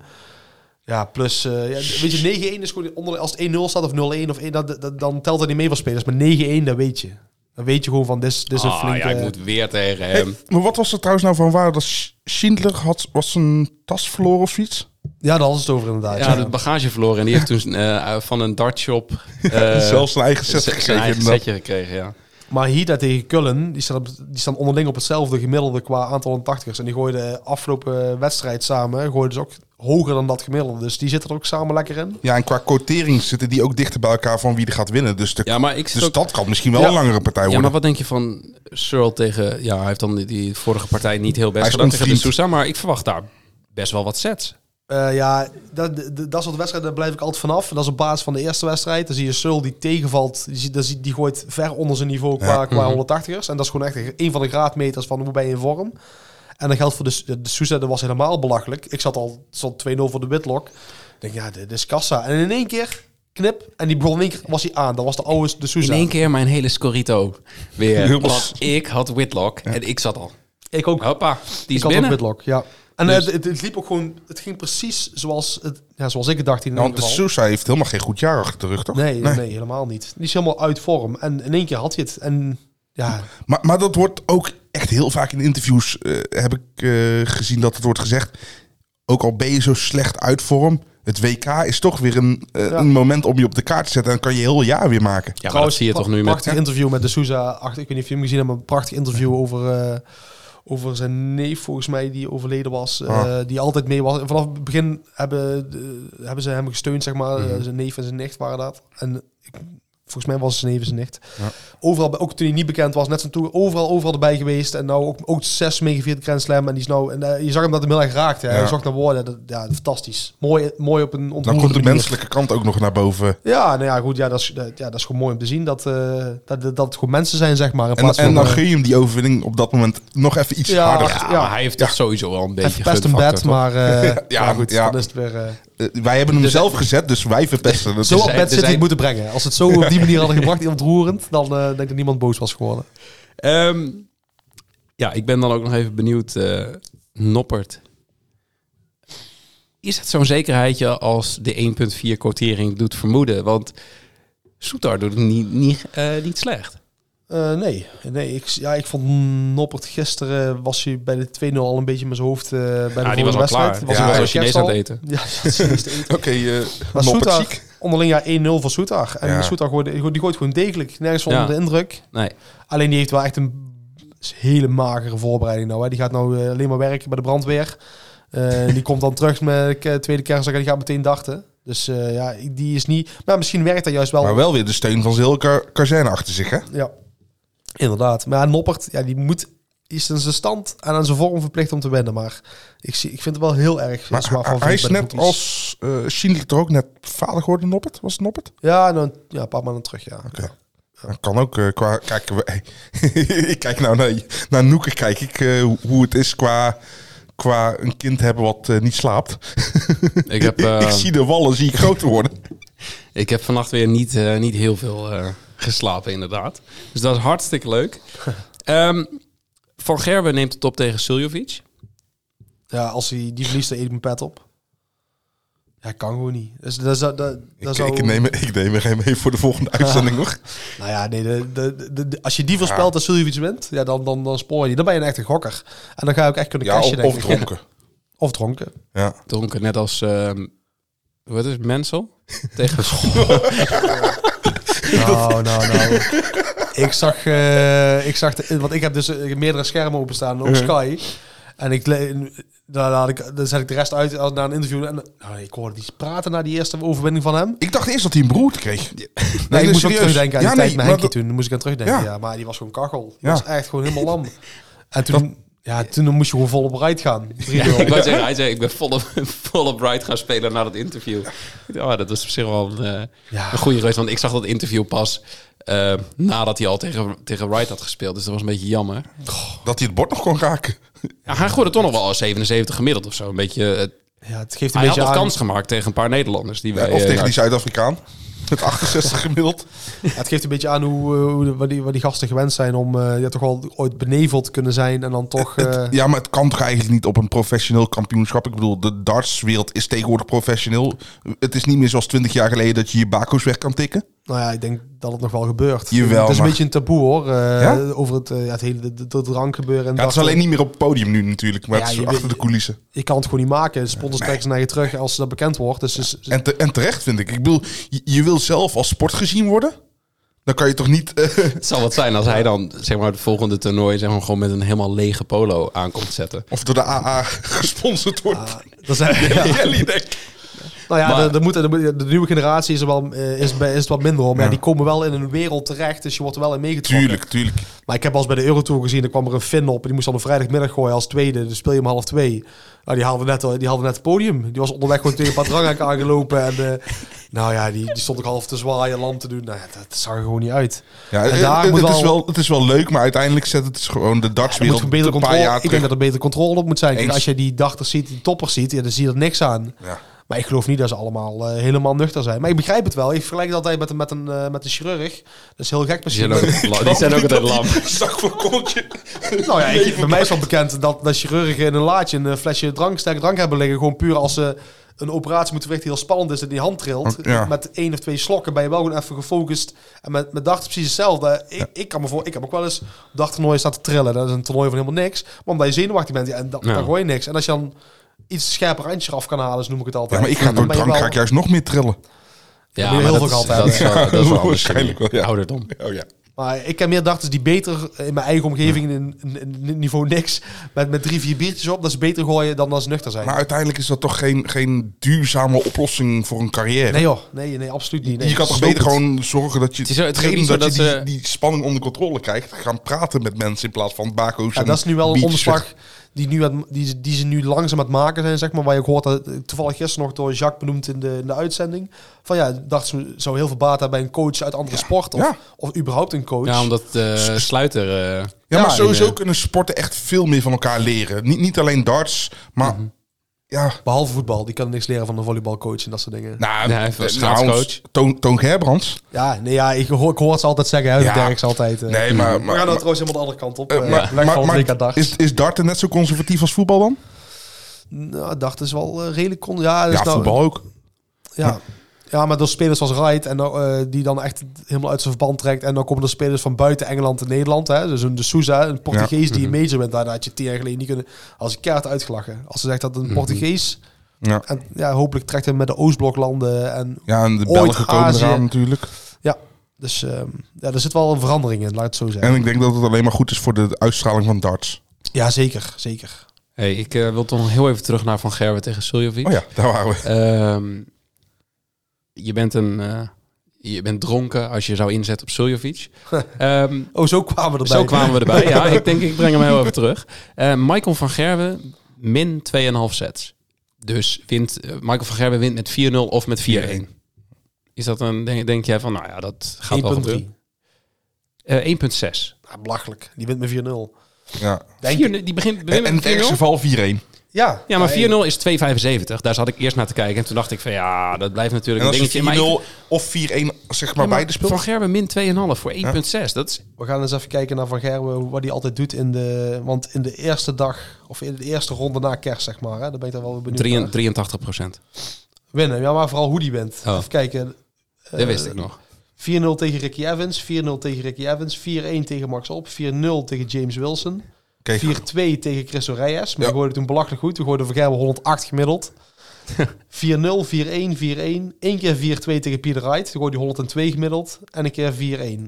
Speaker 9: Ja, plus... eh, ja, weet je, 9-1 is gewoon... Onder, als het 1-0 staat of 0-1 of 1... Dat, dat- dan telt dat niet mee voor spelers. Maar 9-1, dat weet je. Dan weet je gewoon van... Dit is, dit is een
Speaker 7: Ah,
Speaker 9: flinke...
Speaker 7: ja, ik moet weer tegen hem.
Speaker 8: Maar wat was er trouwens nou van waar? Dat Sch- Schindler had, was zijn tas verloren of iets?
Speaker 9: ja daar hadden ze het over inderdaad.
Speaker 7: Ja,
Speaker 9: Ja,
Speaker 7: de bagage verloren. En die heeft toen eh, van een dartshop... eh,
Speaker 8: Zelfs zijn eigen set
Speaker 7: z-
Speaker 8: gekregen.
Speaker 7: zijn eigen
Speaker 8: inderdaad.
Speaker 7: setje gekregen, ja.
Speaker 9: Maar Hida tegen Kullen... Die staan, op- die staan onderling op hetzelfde gemiddelde qua aantal 80ers. En die gooiden afgelopen wedstrijd samen... Gooiden ze ook hoger dan dat gemiddelde. Dus die zitten er ook samen lekker in.
Speaker 8: Ja, en qua quotering zitten die ook dichter bij elkaar van wie er gaat winnen. Dus, de,
Speaker 7: Ja, maar ik zit
Speaker 8: dus
Speaker 7: ook-
Speaker 8: dat kan misschien wel een langere partij
Speaker 7: Ja,
Speaker 8: worden.
Speaker 7: maar wat denk je van Searle tegen... Ja, hij heeft dan die, die vorige partij niet heel best
Speaker 8: Hij is
Speaker 7: gedaan tegen de
Speaker 8: ontvriend.
Speaker 7: Sousa. Maar ik verwacht daar best wel wat sets.
Speaker 9: Eh, ja, dat, dat, dat soort wedstrijden daar blijf ik altijd vanaf. Dat is op basis van de eerste wedstrijd. Dan zie je Seul die tegenvalt. Die, zie- dan zie- die gooit ver onder zijn niveau qua, qua 180ers. En dat is gewoon echt een- een van de graadmeters van hoe ben je in vorm. En dat geldt voor de, S- de Sousa, dat was helemaal belachelijk. Ik zat al stond 2-0 voor de Whitlock. Ik denk, ja, dit is kassa. En in één keer, knip, en die begon in één keer, was hij aan. Dat was de oude de
Speaker 7: In
Speaker 9: Sousa.
Speaker 7: één keer mijn hele scorito
Speaker 8: Ja.
Speaker 7: weer. Want ik had Whitlock en ik zat al.
Speaker 9: Ik ook.
Speaker 7: Hoppa, die Oh, is
Speaker 9: Ik had ook
Speaker 7: binnen.
Speaker 9: Whitlock, ja. En
Speaker 7: Dus-
Speaker 9: eh, het, het, het liep ook gewoon, het ging precies zoals, het, ja, zoals ik het dacht in
Speaker 8: Nou,
Speaker 9: ieder
Speaker 8: want de
Speaker 9: geval.
Speaker 8: Sousa heeft helemaal geen goed jaar achter de rug, toch?
Speaker 9: Nee, nee. helemaal niet. Die is helemaal uit vorm. En in één keer had hij het. En ja,
Speaker 8: Maar, maar dat wordt ook echt heel vaak in interviews, eh, heb ik eh, gezien dat het wordt gezegd. Ook al ben je zo slecht uit vorm, het WK is toch weer een, eh,
Speaker 9: Ja.
Speaker 8: een moment om je op de kaart te zetten. En dan kan je heel jaar weer maken.
Speaker 7: Ja, maar dat zie je toch nu met...
Speaker 9: prachtig interview met de Souza. Ach, ik weet niet of je hem gezien hebt, maar een prachtig interview over, eh, over zijn neef, volgens mij, die overleden was. eh,
Speaker 8: Ah.
Speaker 9: Die altijd mee was. En vanaf het begin hebben, eh, hebben ze hem gesteund, zeg maar.
Speaker 7: Mhm.
Speaker 9: Eh, Zijn neef en zijn nicht waren dat. En ik, volgens mij was het zijn neef en zijn nicht. Overal, bij- ook toen hij niet bekend was, net zijn tour, overal, overal erbij geweest. En nou ook, ook zes meegevierd Grand Slam. En die is nou, en, eh, je zag hem dat hem heel erg raakte. hè.
Speaker 8: Ja.
Speaker 9: Hij zocht naar woorden. Dat, ja, fantastisch. Mooi, mooi op
Speaker 7: Nou,
Speaker 9: een
Speaker 8: Dan
Speaker 9: ontroerende
Speaker 8: komt de
Speaker 9: manier.
Speaker 8: menselijke kant ook nog naar boven.
Speaker 9: Ja, nou ja, goed, ja, dat, is, dat, ja, dat is gewoon mooi om te zien dat, eh, dat, dat het gewoon mensen zijn, zeg maar. In
Speaker 8: En,
Speaker 9: plaats
Speaker 8: en
Speaker 9: van,
Speaker 8: dan
Speaker 9: eh,
Speaker 8: gun je hem die overwinning op dat moment nog even iets
Speaker 9: Ja,
Speaker 8: harder.
Speaker 9: ja,
Speaker 7: Ja, maar hij heeft toch sowieso wel een beetje
Speaker 9: even best een
Speaker 7: gunfactor,
Speaker 9: bed,
Speaker 7: toch?
Speaker 9: maar eh,
Speaker 8: Ja,
Speaker 9: maar goed,
Speaker 8: ja.
Speaker 9: dan is het weer... eh,
Speaker 8: Eh, wij hebben hem zelf gezet, dus wij verpesten het.
Speaker 9: zo
Speaker 7: er
Speaker 9: op
Speaker 7: zijn-
Speaker 9: bed
Speaker 7: er
Speaker 9: zit
Speaker 7: zijn-
Speaker 9: moeten brengen. Als ze het zo op die manier hadden gebracht, ontroerend, dan eh, denk ik dat niemand boos was geworden.
Speaker 7: Ehm, ja, ik ben dan ook nog even benieuwd. eh, Noppert. Is het zo'n zekerheidje als de 1.4 quotering doet vermoeden? Want Soetar doet het niet, niet, eh, niet slecht.
Speaker 9: Eh, nee, nee ik, ja, ik vond Noppert gisteren, was hij bij de 2-0 al een beetje met zijn hoofd eh, bij de
Speaker 7: die was
Speaker 9: vorige
Speaker 7: al
Speaker 9: wedstrijd.
Speaker 7: klaar.
Speaker 8: Ja,
Speaker 9: al
Speaker 8: hij
Speaker 7: was
Speaker 9: bij de
Speaker 7: Chinees aan het
Speaker 9: kerstal. Ja, hij was Chinees te eten.
Speaker 8: Oké, eh
Speaker 9: Maar
Speaker 8: Noppert
Speaker 9: Soetar,
Speaker 8: ziek.
Speaker 9: onderling ja 1-0 voor Soetar. En
Speaker 8: Ja.
Speaker 9: Soetar gooide- die gooit, gewoon degelijk, nergens van
Speaker 7: Ja.
Speaker 9: onder de indruk.
Speaker 7: Nee.
Speaker 9: Alleen die heeft wel echt een hele magere voorbereiding nou. Hè. Die gaat nou eh, alleen maar werken bij de brandweer. Eh, die komt dan terug met de ke- tweede kerstdag en die gaat meteen dachten. Dus eh, ja, ik- die is niet... Maar misschien werkt dat juist wel.
Speaker 8: Maar wel weer de steun van Zilker Kazerne achter zich, hè?
Speaker 9: Ja, inderdaad. Maar ja, Noppert, ja, die moet... die Is aan zijn stand en aan zijn vorm verplicht om te wennen. Maar ik, zie, ik vind het wel heel erg eh,
Speaker 8: Maar
Speaker 9: zwaar
Speaker 8: hij,
Speaker 9: van
Speaker 8: hij is
Speaker 9: bij de
Speaker 8: net
Speaker 9: boekies.
Speaker 8: als eh Schindler er ook net vader geworden, Noppert. Was het Noppert?
Speaker 9: Ja, nou, ja, een paar maanden terug, ja.
Speaker 8: Dat kan ook eh, qua... Kijk, we- ik kijk nou naar, naar Noeke, kijk ik eh, hoe- hoe het is qua, qua een kind hebben wat eh, niet slaapt.
Speaker 7: Ik heb, eh,
Speaker 8: ik zie de wallen, zie ik groter worden.
Speaker 7: Ik heb vannacht weer niet, eh, niet heel veel eh, geslapen, inderdaad. Dus dat is hartstikke leuk. Ehm, Van Gerwen neemt het op tegen Suljovic.
Speaker 9: Ja, als hij die verliest, dan eet ik mijn pet op. Ja, kan gewoon niet. Dus dat zou... Dat, dat
Speaker 8: Ik,
Speaker 9: zou
Speaker 8: ik, neem, er- ik neem er geen mee voor de volgende uitzending hoor.
Speaker 9: Nou ja, nee, de, de, de- de- als je die voorspelt dat Suljovic wint, ja, dan, dan, dan spoor je die. Dan ben je een echte gokker. En dan ga je ook echt kunnen
Speaker 8: Ja,
Speaker 9: cashen,
Speaker 8: of,
Speaker 9: denk
Speaker 8: of
Speaker 9: ik.
Speaker 8: dronken.
Speaker 9: Of dronken.
Speaker 8: Ja.
Speaker 7: Dronken, net als... ehm, wat is het, Mensel? Tegen
Speaker 9: Nou, nou, nou. ik zag, eh, ik zag de, want ik heb dus eh, meerdere schermen openstaan,
Speaker 8: Mhm.
Speaker 9: ook Sky. En ik, le- daar laat ik, dan zet ik de rest uit als na een interview. En nou, ik hoorde die praten na die eerste overwinning van hem.
Speaker 8: Ik dacht eerst dat hij een broer kreeg. Nee,
Speaker 9: Nee, ik
Speaker 8: dus
Speaker 9: moest ook
Speaker 8: serieus.
Speaker 9: terugdenken aan die tijd met
Speaker 8: maar
Speaker 9: Henkie
Speaker 8: dat-
Speaker 9: toen. Daar moest ik aan terugdenken, ja.
Speaker 8: Ja.
Speaker 9: Maar die was gewoon kachel. Die
Speaker 8: Ja.
Speaker 9: was echt gewoon helemaal lam. En toen, ja, toen moest je gewoon vol op rijdt gaan. 3-0.
Speaker 7: ik wou zeggen, hij zei, ik ben volop, volop right gaan spelen na dat interview. Ik dacht, Oh, dat was op zich wel een, eh,
Speaker 9: Ja.
Speaker 7: een goede reus. Want ik zag dat interview pas eh, nadat hij al tegen, tegen Wright had gespeeld. Dus dat was een beetje jammer.
Speaker 8: Dat hij het bord nog kon raken.
Speaker 7: Ja, hij gooide toch nog wel 77 gemiddeld of zo. Een beetje, eh,
Speaker 9: Ja, het geeft
Speaker 7: hij
Speaker 9: een
Speaker 7: had
Speaker 9: beetje
Speaker 7: nog
Speaker 9: aan.
Speaker 7: kans gemaakt tegen een paar Nederlanders. Die wij,
Speaker 8: of
Speaker 7: eh,
Speaker 8: tegen
Speaker 7: nou,
Speaker 8: die Zuid-Afrikaan. Met 68 gemiddeld.
Speaker 9: Ja, het geeft een beetje aan hoe, eh, hoe de- wat, die, wat die gasten gewend zijn om eh, ja, toch wel ooit beneveld kunnen zijn en dan toch... eh,
Speaker 8: Ja, maar het kan toch eigenlijk niet op een professioneel kampioenschap? Ik bedoel, de dartswereld is tegenwoordig professioneel. Het is niet meer zoals 20 jaar geleden dat je je bako's weg kan tikken.
Speaker 9: Nou ja, ik denk dat het nog wel gebeurt.
Speaker 8: Jawel,
Speaker 9: het is een
Speaker 8: maar-
Speaker 9: beetje een taboe hoor. eh,
Speaker 8: Ja?
Speaker 9: Over het, eh, ja, het hele de, de drank gebeuren. En
Speaker 8: Ja, het is
Speaker 9: dat-
Speaker 8: alleen niet meer op het podium nu natuurlijk, maar
Speaker 9: Ja,
Speaker 8: het is
Speaker 9: je
Speaker 8: achter
Speaker 9: weet-
Speaker 8: de coulissen.
Speaker 9: Je kan het gewoon niet maken. De sponsors trekken ze naar je terug als dat bekend wordt. Dus, dus
Speaker 8: En, te- en terecht vind ik. Ik bedoel, je, je wil zelf als sport gezien worden? Dan kan je toch niet... eh,
Speaker 7: Het zal wat zijn als hij dan zeg maar, het volgende toernooi zeg maar, gewoon met een helemaal lege polo aankomt zetten.
Speaker 8: of door de AA gesponsord wordt.
Speaker 9: dat zijn, ja.
Speaker 8: Jelly, denk ik.
Speaker 9: Nou ja,
Speaker 7: Maar-
Speaker 9: de, de, moet- de, moet- de nieuwe generatie is, er wel, eh, is, bij- is het wat minder hoor. Maar ja, die komen wel in een wereld terecht. Dus je wordt er wel in meegetrokken.
Speaker 8: Tuurlijk, tuurlijk.
Speaker 9: Maar ik heb wel eens bij de Eurotour gezien, er kwam er een Finn op. En die moest dan een vrijdagmiddag gooien als tweede. Dus speel je om half twee. Nou, die haalde net, die haalde net het podium. Die was onderweg gewoon tegen Patrangak aangelopen. En eh, nou ja, die, die stond ook half te zwaaien, lam te doen. Nou ja, dat zag er gewoon niet uit.
Speaker 8: Ja,
Speaker 9: en
Speaker 8: het,
Speaker 9: daar
Speaker 8: het-
Speaker 9: moet
Speaker 8: het
Speaker 9: wel...
Speaker 8: is wel, het is wel leuk, maar uiteindelijk zet het dus gewoon de
Speaker 9: er moet
Speaker 8: dartswereld
Speaker 9: gewoon beter
Speaker 8: een paar
Speaker 9: controle,
Speaker 8: jaar
Speaker 9: ik denk dat
Speaker 8: terug.
Speaker 9: er beter controle op moet zijn. Kijk,
Speaker 8: Eens.
Speaker 9: als je die dachters ziet, die toppers ziet, ja, dan zie je er niks aan.
Speaker 8: Ja.
Speaker 9: Maar ik geloof niet dat ze allemaal eh, helemaal nuchter zijn. Maar ik begrijp het wel. Ik vergelijk het altijd met, een- met, een, eh, met een chirurg. Dat is heel gek
Speaker 7: Die
Speaker 9: misschien.
Speaker 7: zijn ook, die zijn ook altijd lam.
Speaker 8: Zak voor kontje.
Speaker 9: Nou ja, ik, bij mij is wel bekend dat, dat chirurgen in een laadje een eh, flesje drank, sterke drank hebben liggen. Gewoon puur als ze een operatie moeten verrichten die heel spannend is en die hand trilt.
Speaker 8: Ook, ja.
Speaker 9: Met één of twee slokken ben je wel gewoon even gefocust. En met, met dacht precies hetzelfde. Ik, ik, kan me voor, ik heb ook wel eens op dagtoernooien staan te trillen. Dat is een toernooi van helemaal niks. Maar omdat je zenuwachtig bent, ja, en dat,
Speaker 7: Ja.
Speaker 9: dan gooi je niks. En als je dan iets scherper randje af kan halen, dus noem ik het
Speaker 8: Ja,
Speaker 9: altijd.
Speaker 8: maar ik ga
Speaker 9: dan
Speaker 8: door
Speaker 9: ben je
Speaker 8: drank
Speaker 9: wel-
Speaker 8: ga ik juist nog meer trillen.
Speaker 7: Ja,
Speaker 9: heel
Speaker 7: maar
Speaker 9: veel
Speaker 7: dat, is-
Speaker 9: gehad
Speaker 7: dat is wel, dat is wel anders.
Speaker 8: Waarschijnlijk wel, ja.
Speaker 7: Ouderdom.
Speaker 8: Oh ja.
Speaker 9: Maar ik ken meer dachters die beter in mijn eigen omgeving, in, in, in niveau niks, met, met drie, vier biertjes op, dat ze beter gooien dan als ze nuchter zijn.
Speaker 8: Maar uiteindelijk is dat toch geen, geen duurzame oplossing voor een carrière?
Speaker 9: Nee joh, nee, nee absoluut niet. Nee.
Speaker 8: Dus je kan toch
Speaker 9: Zo
Speaker 8: beter
Speaker 9: goed.
Speaker 8: gewoon zorgen dat je,
Speaker 7: Het is- het is ook
Speaker 8: trainen,
Speaker 7: niet zo
Speaker 8: dat je
Speaker 7: dat
Speaker 8: die, die spanning onder controle krijgt. Gaan praten met mensen in plaats van bako's
Speaker 9: Ja,
Speaker 8: en
Speaker 9: dat is nu wel een
Speaker 8: beaches.
Speaker 9: omslag die, nu aan- die, die ze nu langzaam aan het maken zijn, zeg maar. Waar je ook hoort, dat, eh, toevallig gisteren nog door Jacques benoemd in de, in de uitzending. Van ja, dacht ze zou heel veel baat hebben bij een coach uit andere sport. Of,
Speaker 8: Ja.
Speaker 9: of überhaupt een coach.
Speaker 7: Ja, omdat eh, Sluiter... eh,
Speaker 8: Ja, maar
Speaker 7: ja,
Speaker 8: sowieso
Speaker 7: en, eh,
Speaker 8: kunnen sporten echt veel meer van elkaar leren. Niet, niet alleen darts, maar...
Speaker 9: Mhm.
Speaker 8: Ja,
Speaker 9: Behalve voetbal, die kan niks leren van een volleybalcoach en dat soort dingen.
Speaker 8: nou,
Speaker 7: Ja, hij heeft een schaatscoach.
Speaker 8: Toon, Toon Gerbrands.
Speaker 9: Ja, nee, ja ik, hoor, ik hoor het ze altijd zeggen, hè,
Speaker 8: Ja.
Speaker 9: Derks altijd. eh. we
Speaker 8: Nee, maar... maar,
Speaker 9: gaan nou
Speaker 8: maar,
Speaker 9: trouwens helemaal de andere kant op.
Speaker 8: eh,
Speaker 9: eh,
Speaker 8: maar-
Speaker 9: Black
Speaker 8: maar-
Speaker 9: Van
Speaker 8: maar
Speaker 9: Dijk aan Darts.
Speaker 8: is, is darten net zo conservatief als voetbal dan?
Speaker 9: Nou, Dart is wel eh, redelijk... Kon, ja, dat is
Speaker 8: ja,
Speaker 9: nou-
Speaker 8: voetbal ook.
Speaker 9: Ja. ja, maar door spelers als Wright en eh, die dan echt helemaal uit zijn verband trekt. En dan komen er spelers van buiten Engeland en Nederland. Hè? Dus een de Souza, een Portugees die
Speaker 8: Mhm.
Speaker 9: een major wint. Daar had je tien jaar geleden niet kunnen als een kaart uitgelachen. Als ze zegt dat
Speaker 8: Mhm.
Speaker 9: een Portugees.
Speaker 8: Ja.
Speaker 9: En ja, hopelijk trekt hij met de Oostbloklanden. En,
Speaker 8: Ja, en de
Speaker 9: Ooit
Speaker 8: Belgen komen
Speaker 9: Azië.
Speaker 8: eraan natuurlijk.
Speaker 9: ja, dus ehm, ja, er zit wel een verandering in, laat ik het zo zeggen.
Speaker 8: En ik denk dat het alleen maar goed is voor de uitstraling van darts.
Speaker 9: Ja, zeker, zeker.
Speaker 7: hey, ik eh, wil toch nog heel even terug naar Van Gerwen tegen Suljovic.
Speaker 8: Oh ja, daar waren we.
Speaker 7: Ehm, je bent een... eh, je bent dronken als je zou inzetten op Suljovic. Ehm,
Speaker 9: Oh, zo kwamen we erbij.
Speaker 7: Zo kwamen we erbij. Ja, ik denk, ik breng hem heel even terug. Eh, Michael van Gerwen, min 2,5 sets. Dus wint, eh, Michael van Gerwen wint met 4-0 of met 4-1. Is dat een, denk, denk jij van, nou ja, dat gaat wel
Speaker 9: 1.3.
Speaker 7: gebeuren. Eh, 1,6.
Speaker 9: Ja, belachelijk. Die wint met 4-0.
Speaker 8: Ja.
Speaker 9: Denk
Speaker 7: Vier- Die begint,
Speaker 8: En,
Speaker 7: begint
Speaker 8: en
Speaker 7: met
Speaker 8: het ergste
Speaker 7: 4-0.
Speaker 8: geval 4-1.
Speaker 9: Ja,
Speaker 7: Ja, maar
Speaker 9: Ja,
Speaker 7: 4-0 is 2,75. Daar zat ik eerst naar te kijken. En toen dacht ik van, ja, dat blijft
Speaker 8: En
Speaker 7: natuurlijk een
Speaker 8: als
Speaker 7: dingetje. Maar ik-
Speaker 8: je 4-0 of 4-1 zeg maar
Speaker 7: Ja, maar
Speaker 8: beide speelt.
Speaker 7: Van Gerwen min 2,5 voor 1,6. Dat is
Speaker 9: We gaan eens even kijken naar Van Gerwen, hoe- wat hij altijd doet in de... Want in de eerste dag, of in de eerste ronde na kerst, zeg maar, hè, dan ben ik daar wel weer benieuwd naar.
Speaker 7: 83 procent.
Speaker 9: winnen. Ja, maar vooral hoe die wint.
Speaker 7: Oh.
Speaker 9: Even kijken.
Speaker 8: Eh,
Speaker 7: Dat wist ik
Speaker 8: dus
Speaker 7: nog.
Speaker 9: 4-0 tegen Ricky Evans, 4-0 tegen Ricky Evans, 4-1 tegen Max Op, 4-0 tegen James Wilson, 4-2
Speaker 8: Kijk,
Speaker 9: tegen Chris Reyes. Maar die
Speaker 8: Ja.
Speaker 9: gooide toen belachelijk goed. We gooiden voor Gerben 108 gemiddeld. 4-0, 4-1, 4-1. Eén keer 4-2 tegen Pieter Wright. Toen gooide hij 102 gemiddeld. En een keer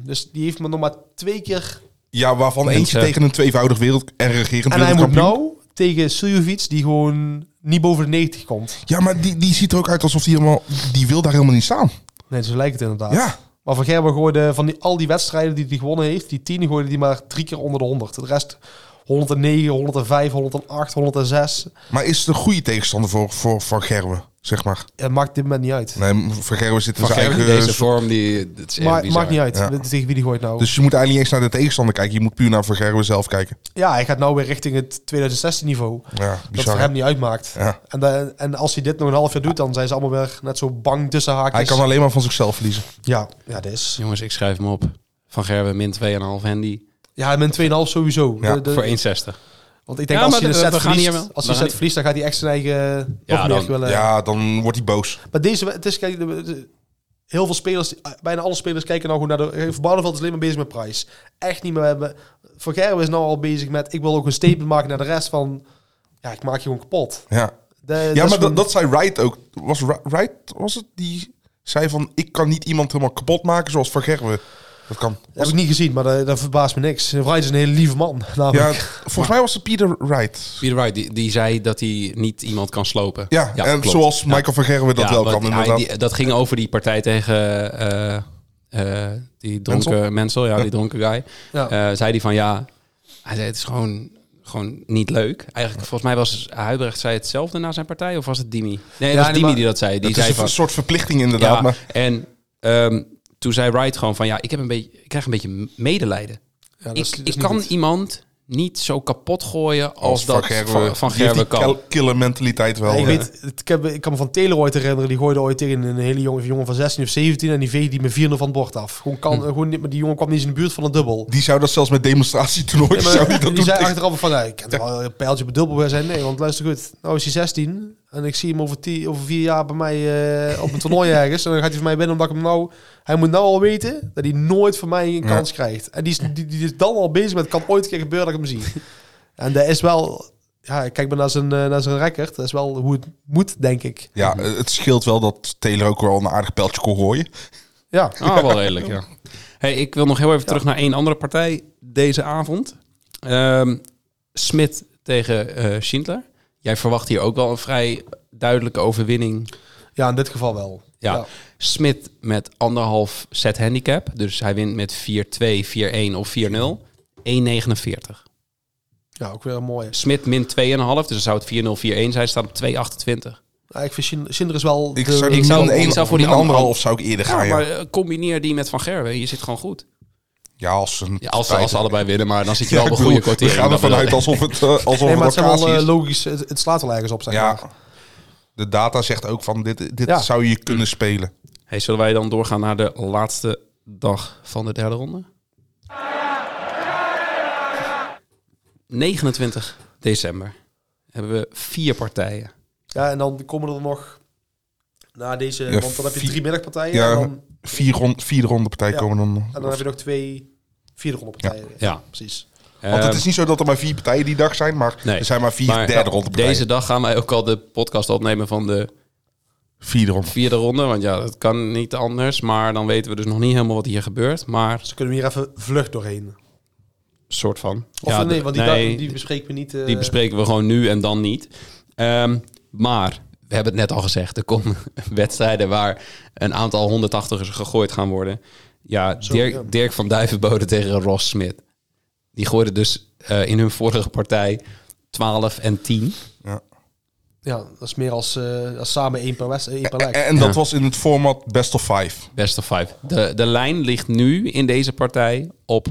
Speaker 9: 4-1. Dus die heeft me nog maar twee keer...
Speaker 8: ja, waarvan eentje
Speaker 7: Mensen.
Speaker 8: tegen een tweevoudig wereld en regerend
Speaker 9: En hij moet
Speaker 8: wereldkampioen.
Speaker 9: nou tegen Suljovic, die gewoon niet boven de 90 komt.
Speaker 8: Ja, maar die, die ziet er ook uit alsof die helemaal... Die wil daar helemaal niet staan.
Speaker 9: Nee, zo lijkt het inderdaad.
Speaker 8: Ja.
Speaker 9: Maar Van Gerber gooide van die, al die wedstrijden die hij gewonnen heeft, die tien gooide die maar drie keer onder de 100. De rest 109, 105, 108, 106.
Speaker 8: Maar is het een goede tegenstander voor, voor Van Gerwen, zeg maar?
Speaker 9: Het maakt dit moment niet uit.
Speaker 8: Nee, Van Gerwen zit in
Speaker 7: Van
Speaker 8: zijn
Speaker 7: Gerwen
Speaker 8: eigen...
Speaker 7: in deze vorm, die, dat is echt
Speaker 9: Maar het
Speaker 7: bizar.
Speaker 9: maakt niet uit.
Speaker 8: Ja.
Speaker 9: Tegen wie die gooit nou?
Speaker 8: Dus je moet eigenlijk niet eens naar de tegenstander kijken. Je moet puur naar Van Gerwen zelf kijken.
Speaker 9: ja, hij gaat nou weer richting het 2016 niveau.
Speaker 8: Ja,
Speaker 9: Dat het voor
Speaker 8: bizar.
Speaker 9: hem
Speaker 8: hè?
Speaker 9: niet uitmaakt.
Speaker 8: Ja.
Speaker 9: En, da- en als hij dit nog een half jaar doet, dan zijn ze allemaal weer net zo bang tussen haakjes.
Speaker 7: Dus-
Speaker 8: Hij kan alleen maar van zichzelf verliezen.
Speaker 9: ja, ja, dat is.
Speaker 7: Jongens, ik schrijf hem op. Van Gerwen min 2,5 handy
Speaker 9: Ja, met 2,5 sowieso.
Speaker 8: Ja,
Speaker 9: De- de-
Speaker 7: voor 1,60.
Speaker 9: want ik denk
Speaker 7: Ja,
Speaker 9: als
Speaker 7: maar
Speaker 9: hij de
Speaker 7: we-
Speaker 9: set
Speaker 7: we gaan
Speaker 9: verliest,
Speaker 7: hier wel.
Speaker 9: als
Speaker 7: We gaan
Speaker 9: hij set
Speaker 7: hier-
Speaker 9: verliest, dan gaat hij echt zijn eigen
Speaker 7: Ja,
Speaker 9: nog meer
Speaker 7: dan-
Speaker 9: willen.
Speaker 8: Ja, dan wordt hij boos.
Speaker 9: eh, Maar deze, het is, kijk, de- de- heel veel spelers, bijna alle spelers kijken nou goed naar de. Van Barneveld is alleen maar bezig met prijs. Echt niet meer. hebben- Van Gerwen is nou al bezig met. Ik wil ook een statement maken naar de rest van. Ja, ik maak je gewoon kapot.
Speaker 8: Ja,
Speaker 9: De-
Speaker 8: ja
Speaker 9: Eh, is
Speaker 8: maar
Speaker 9: gewoon-
Speaker 8: dat, dat zei Wright ook. Was Wri- Wright, was het? Die zei van, ik kan niet iemand helemaal kapot maken zoals Van Gerwen. Dat kan.
Speaker 9: heb ik niet gezien, maar dat, dat verbaast me niks. Wright is een hele lieve man.
Speaker 8: Ja,
Speaker 9: Namelijk.
Speaker 8: volgens mij was het Peter Wright.
Speaker 7: Peter Wright, die, die zei dat hij niet iemand kan slopen.
Speaker 8: Ja, en
Speaker 7: klopt.
Speaker 8: zoals
Speaker 7: Ja.
Speaker 8: Michael van Gerwen dat
Speaker 7: Ja,
Speaker 8: wel
Speaker 7: want
Speaker 8: kan,
Speaker 7: hij-
Speaker 8: inderdaad.
Speaker 7: die- dat ging over die partij tegen eh, eh, die dronken Mensel, ja, die dronken guy.
Speaker 9: Ja.
Speaker 7: Eh, zei hij van ja, hij zei het is gewoon, gewoon niet leuk. Eigenlijk volgens mij was Huibrecht zei hetzelfde na zijn partij of was het Dimi? Nee, het
Speaker 9: Ja,
Speaker 7: was
Speaker 9: nee,
Speaker 7: Dimi
Speaker 9: maar-
Speaker 7: die dat zei. Die
Speaker 8: het
Speaker 7: zei
Speaker 8: is een
Speaker 7: van,
Speaker 8: soort verplichting inderdaad.
Speaker 7: ja,
Speaker 8: maar
Speaker 7: en ehm, toen zei Wright gewoon van ja, ik, heb een beetje, ik krijg een beetje medelijden.
Speaker 9: Ja, dat
Speaker 7: ik
Speaker 9: is- dat is
Speaker 7: ik
Speaker 9: niet
Speaker 7: kan
Speaker 9: goed.
Speaker 7: iemand niet zo kapot gooien als,
Speaker 8: als
Speaker 7: dat
Speaker 8: Van Gerwen,
Speaker 7: van, van
Speaker 8: die heeft
Speaker 7: Gerwen
Speaker 8: die
Speaker 7: kan.
Speaker 8: kel- killer mentaliteit wel.
Speaker 9: Ja, ik,
Speaker 8: eh,
Speaker 9: Oh, weet, het- ik, heb, ik kan me van Taylor ooit herinneren. Die gooide ooit tegen een hele jongen, jongen van 16 of 17. En die veegde die met 4 van het bord af. Gewoon kan,
Speaker 8: Hm.
Speaker 9: gewoon, niet- maar die jongen kwam niet eens in de buurt van een dubbel.
Speaker 8: Die zou dat zelfs met demonstratietoernooien
Speaker 9: Ja,
Speaker 8: zou
Speaker 9: maar
Speaker 8: die dat
Speaker 9: die
Speaker 8: doen.
Speaker 9: zei
Speaker 8: tegen-
Speaker 9: achteraf van, nou, ik kan er wel een pijltje op dubbel bij zijn. Nee, want luister goed. Nou is hij 16 en ik zie hem over, tien, over vier jaar bij mij eh, op een toernooi ergens. En dan gaat hij van mij winnen omdat ik hem nou... Hij moet nou al weten dat hij nooit van mij een kans krijgt. En die is, die, die is dan al bezig met, het kan ooit een keer gebeuren dat ik hem zie. En dat is wel... Ja, ik kijk maar naar zijn, eh, naar zijn record. Dat is wel hoe het moet, denk ik.
Speaker 8: Ja, eh, het scheelt wel dat Taylor ook wel een aardig pijltje kon gooien.
Speaker 9: Ja.
Speaker 7: Ah, wel redelijk, ja. Hey, ik wil nog heel even terug naar één andere partij deze avond. Ehm Smit tegen eh Schindler. Jij verwacht hier ook wel een vrij duidelijke overwinning.
Speaker 9: ja, in dit geval wel.
Speaker 7: Ja, Smit met anderhalf set handicap. Dus hij wint met 4-2, 4-1 of 4-0. 1,49.
Speaker 9: Ja, ook weer een mooie.
Speaker 7: Smit min 2,5. Dus dan zou het 4-0, 4-1 zijn. Staat op 2,28.
Speaker 9: Ja, ik vind Shin- Shinder is wel...
Speaker 8: Ik
Speaker 9: de-
Speaker 8: zou,
Speaker 7: ik zou-
Speaker 8: min
Speaker 7: ik
Speaker 8: één-
Speaker 7: zou voor die
Speaker 8: min
Speaker 7: ander-
Speaker 8: anderhalf zou ik eerder
Speaker 7: Ja,
Speaker 8: gaan. Ah, Ja,
Speaker 7: maar eh, combineer die met Van Gerwen. Je zit gewoon goed.
Speaker 8: Ja, als, een
Speaker 7: Ja, als, ze- als ze allebei winnen, maar dan zit je wel op
Speaker 8: ik
Speaker 7: een
Speaker 8: bedoel,
Speaker 7: goede kwartier.
Speaker 8: We gaan ervan uit alsof het, eh, alsof
Speaker 9: Nee, maar het
Speaker 8: het
Speaker 9: zijn wel
Speaker 8: locatie
Speaker 9: eh,
Speaker 8: is.
Speaker 9: logisch. Het, het slaat wel ergens op, zeg maar.
Speaker 8: ja, de data zegt ook van dit, dit
Speaker 9: Ja.
Speaker 8: zou je kunnen spelen.
Speaker 7: Hey, zullen wij dan doorgaan naar de laatste dag van de derde ronde? 29 december hebben we vier partijen.
Speaker 9: Ja, en dan komen er nog na deze,
Speaker 8: Ja,
Speaker 9: want dan heb je
Speaker 8: vier-
Speaker 9: drie middagpartijen.
Speaker 8: Ja,
Speaker 9: en dan,
Speaker 8: Vier rond, vierde ronde partij
Speaker 9: Ja.
Speaker 8: komen dan.
Speaker 9: en dan heb je nog twee vierde ronde partijen. Ja,
Speaker 7: Ja,
Speaker 9: precies.
Speaker 8: Want het is niet zo dat er maar vier partijen die dag zijn, maar
Speaker 7: Ehm, Nee.
Speaker 8: er zijn maar vier derde ronde partijen.
Speaker 7: Deze dag gaan wij ook al de podcast opnemen van de
Speaker 8: Vierde ronde.
Speaker 7: vierde ronde. Want ja, dat kan niet anders. Maar dan weten we dus nog niet helemaal wat hier gebeurt. Maar
Speaker 9: Dus kunnen we hier even vlug doorheen.
Speaker 7: soort van.
Speaker 9: Of
Speaker 7: ja,
Speaker 9: nee,
Speaker 7: de-
Speaker 9: want die,
Speaker 7: nee,
Speaker 9: da- die bespreken we niet. eh,
Speaker 7: Die bespreken we gewoon nu en dan niet. Ehm, maar we hebben het net al gezegd. Er komen wedstrijden waar een aantal 180ers gegooid gaan worden. Ja, Dirk,
Speaker 9: ja.
Speaker 7: Dirk van Duivenbode tegen Ross Smit. Die gooiden dus eh, in hun vorige partij 12 en 10.
Speaker 9: Ja, dat is meer als, eh, als samen één per west, één per
Speaker 8: En,
Speaker 9: leg.
Speaker 8: en dat
Speaker 7: Ja.
Speaker 8: was in het format best of five.
Speaker 7: Best of five. De, de lijn ligt nu in deze partij op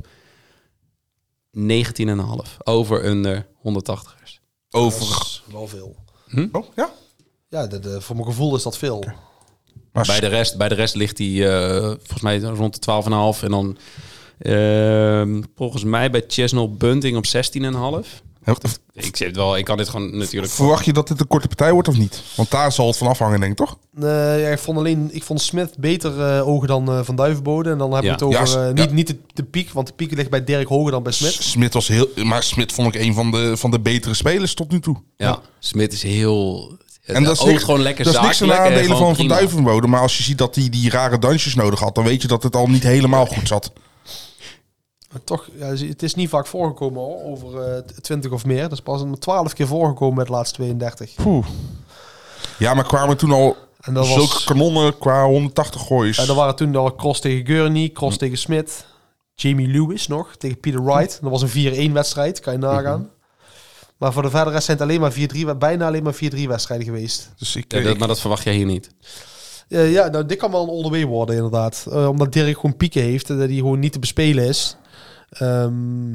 Speaker 7: 19,5. Over under 180ers.
Speaker 8: Over.
Speaker 9: Wel veel.
Speaker 8: Oh, ja.
Speaker 9: Ja, de, de- voor mijn gevoel is dat veel.
Speaker 8: Maar
Speaker 7: Bij de rest, bij de rest ligt hij eh, volgens mij rond de 12,5. En dan ehm, volgens mij bij Chesnel Bunting op 16,5.
Speaker 8: En wat-
Speaker 7: Ik, zit wel, ik kan dit gewoon natuurlijk...
Speaker 8: Verwacht je dat dit een korte partij wordt of niet? Want daar zal het van afhangen, denk ik, toch?
Speaker 9: Nee, Eh, ja, ik vond alleen ik vond Smith beter eh, ogen dan eh, Van Duivenbode. En dan heb ik
Speaker 7: Ja.
Speaker 9: het over
Speaker 8: Ja, s-
Speaker 9: eh,
Speaker 8: ja.
Speaker 9: niet, niet de, de piek, want de piek ligt bij Dirk hoger dan bij Smith.
Speaker 8: S- Smit was heel... Maar Smit vond ik een van de, van de betere spelers tot nu toe.
Speaker 7: Ja, Smit is heel...
Speaker 8: En dat is
Speaker 7: oogt
Speaker 8: niks,
Speaker 7: gewoon lekker
Speaker 8: dat is niks ten
Speaker 7: zakelijk en
Speaker 8: nadele
Speaker 7: gewoon
Speaker 8: van Van
Speaker 7: prima.
Speaker 8: Duivenbode. Maar als je ziet dat hij die rare dansjes nodig had... dan weet je dat het al niet helemaal goed zat.
Speaker 9: Maar toch, ja, het is niet vaak voorgekomen hoor, over eh 20 of meer. Dat is pas een 12 keer voorgekomen met de laatste 32.
Speaker 8: Ja, maar kwamen toen al
Speaker 9: En dat
Speaker 8: zulke
Speaker 9: was...
Speaker 8: kanonnen qua 180 gooiers.
Speaker 9: Ja, er waren toen al cross tegen Gurney, cross tegen Smit, Jamie Lewis nog, tegen Peter Wright. Dat was een 4-1 wedstrijd, kan je nagaan. Maar voor de verdere rest zijn het alleen maar 4-3, bijna alleen maar 4-3 wedstrijden geweest.
Speaker 8: Dus ik,
Speaker 7: Ja, dat, maar dat verwacht jij hier niet.
Speaker 9: Eh, ja, nou, dit kan wel een all the way worden inderdaad. Eh, omdat Dirk gewoon pieken heeft en dat hij gewoon niet te bespelen is. Ehm,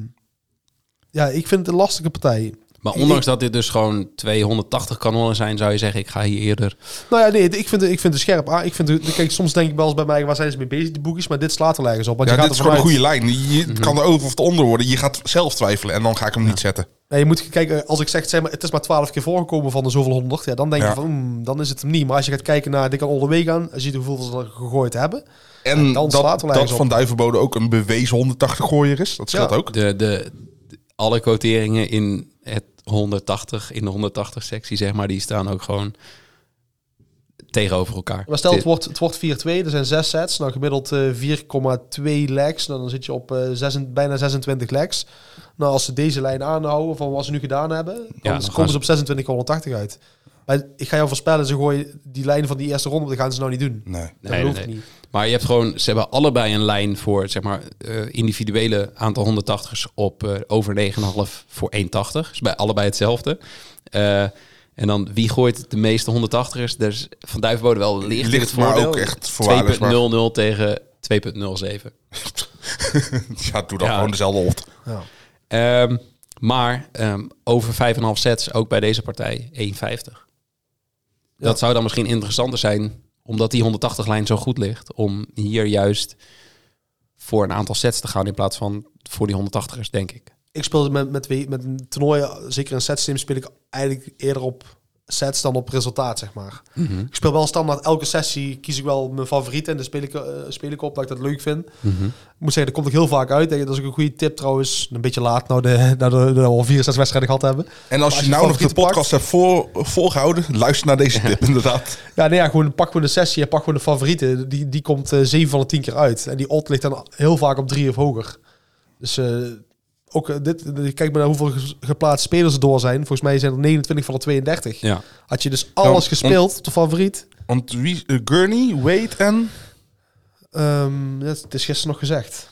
Speaker 9: ja, ik vind het een lastige partij.
Speaker 7: Maar ondanks dat dit dus gewoon 280 kanonnen zijn, zou je zeggen, ik ga hier eerder...
Speaker 9: Nou ja, nee, ik vind, het- ik vind het scherp. Ah, ik vind het, kijk, soms denk ik wel eens bij mij, waar zijn ze mee bezig, die boekjes? Maar dit slaat er ergens op. Want
Speaker 8: ja,
Speaker 9: je gaat
Speaker 8: dit is
Speaker 9: ervan
Speaker 8: gewoon een
Speaker 9: uit-
Speaker 8: goede lijn. Je
Speaker 7: Mhm.
Speaker 8: het kan er over of onder worden. Je gaat zelf twijfelen en dan ga ik hem niet zetten.
Speaker 9: Nee, je moet kijken, als ik zeg, zeg maar, het is maar twaalf keer voorgekomen van de zoveel honderd, ja, dan denk
Speaker 8: Ja.
Speaker 9: je van, hmm, dan is het hem niet. Maar als je gaat kijken naar dit kan all the way gaan, als je ziet hoeveel ze er gegooid hebben.
Speaker 8: En
Speaker 9: dan
Speaker 8: dat,
Speaker 9: slaat wel
Speaker 8: dat
Speaker 9: ergens op.
Speaker 8: Van Duivenbode ook een bewezen 180 gooier is. Dat scheelt
Speaker 9: Ja.
Speaker 8: ook.
Speaker 7: De, de, de- alle quoteringen in het 180, in de 180 sectie, zeg maar, die staan ook gewoon tegenover elkaar.
Speaker 9: Maar stel, het
Speaker 7: Dit-
Speaker 9: wordt, het wordt 4-2, er zijn zes sets, nou gemiddeld eh, 4,2 legs, nou, dan zit je op eh, zes, bijna 26 legs. Nou, als ze deze lijn aanhouden van wat ze nu gedaan hebben, dan
Speaker 7: dan gaan
Speaker 9: komen ze op 2680 uit. Maar ik ga jou voorspellen, ze gooien die lijn van die eerste ronde, dat gaan ze nou niet doen.
Speaker 8: Nee.
Speaker 9: Dat
Speaker 7: Nee,
Speaker 9: hoeft
Speaker 7: nee, nee.
Speaker 9: niet.
Speaker 7: Maar je hebt gewoon, ze hebben allebei een lijn voor zeg maar, eh, individuele aantal 180's op eh, over 9,5 voor 180. Dus bij allebei hetzelfde. Eh, en dan wie gooit de meeste 180ers? Daar is Van Duivenbode wel licht, in
Speaker 8: Eh, Licht,
Speaker 7: het
Speaker 8: maar
Speaker 7: voordeel.
Speaker 8: ook echt voorwaardig,
Speaker 7: 2.00 tegen 2.07.
Speaker 8: ja, doe dan
Speaker 7: Ja.
Speaker 8: gewoon dezelfde hond.
Speaker 7: Ehm, maar ehm, over 5,5 sets ook bij deze partij 1,50. Dat zou dan misschien interessanter zijn, omdat die 180-lijn zo goed ligt, om hier juist voor een aantal sets te gaan in plaats van voor die 180ers, denk ik.
Speaker 9: ik speelde met, met, wie- met een toernooi, zeker in setsysteem, speel ik eigenlijk eerder op sets dan op resultaat, zeg maar. Ik speel wel standaard, elke sessie kies ik wel mijn favoriet en daar speel ik, eh, speel ik op dat ik dat leuk vind. Ik moet zeggen, dat komt ook heel vaak uit. Dat is ook een goede tip trouwens, een beetje laat nou de, nou de, de, al vier, zes wedstrijden gehad hebben.
Speaker 8: En
Speaker 9: Maar
Speaker 8: als, je nou nog de
Speaker 9: favorieten
Speaker 8: podcast
Speaker 9: pakt-
Speaker 8: hebt voor, volgehouden, luister naar deze tip inderdaad.
Speaker 9: Ja, nee, ja, gewoon pak gewoon de sessie en pak gewoon de favorieten. Die, die komt eh 7 van de 10 keer uit. En die odd ligt dan heel vaak op 3 of hoger. Dus eh, ook eh, dit, dit- kijk maar naar hoeveel ge- geplaatste spelers er door zijn. Volgens mij zijn er 29 van de 32.
Speaker 7: Ja.
Speaker 9: Had je dus alles
Speaker 8: om-
Speaker 9: gespeeld op de favoriet.
Speaker 8: Want wie, eh, Gurney, Wade en...
Speaker 9: Ehm, dat, het is gisteren nog gezegd.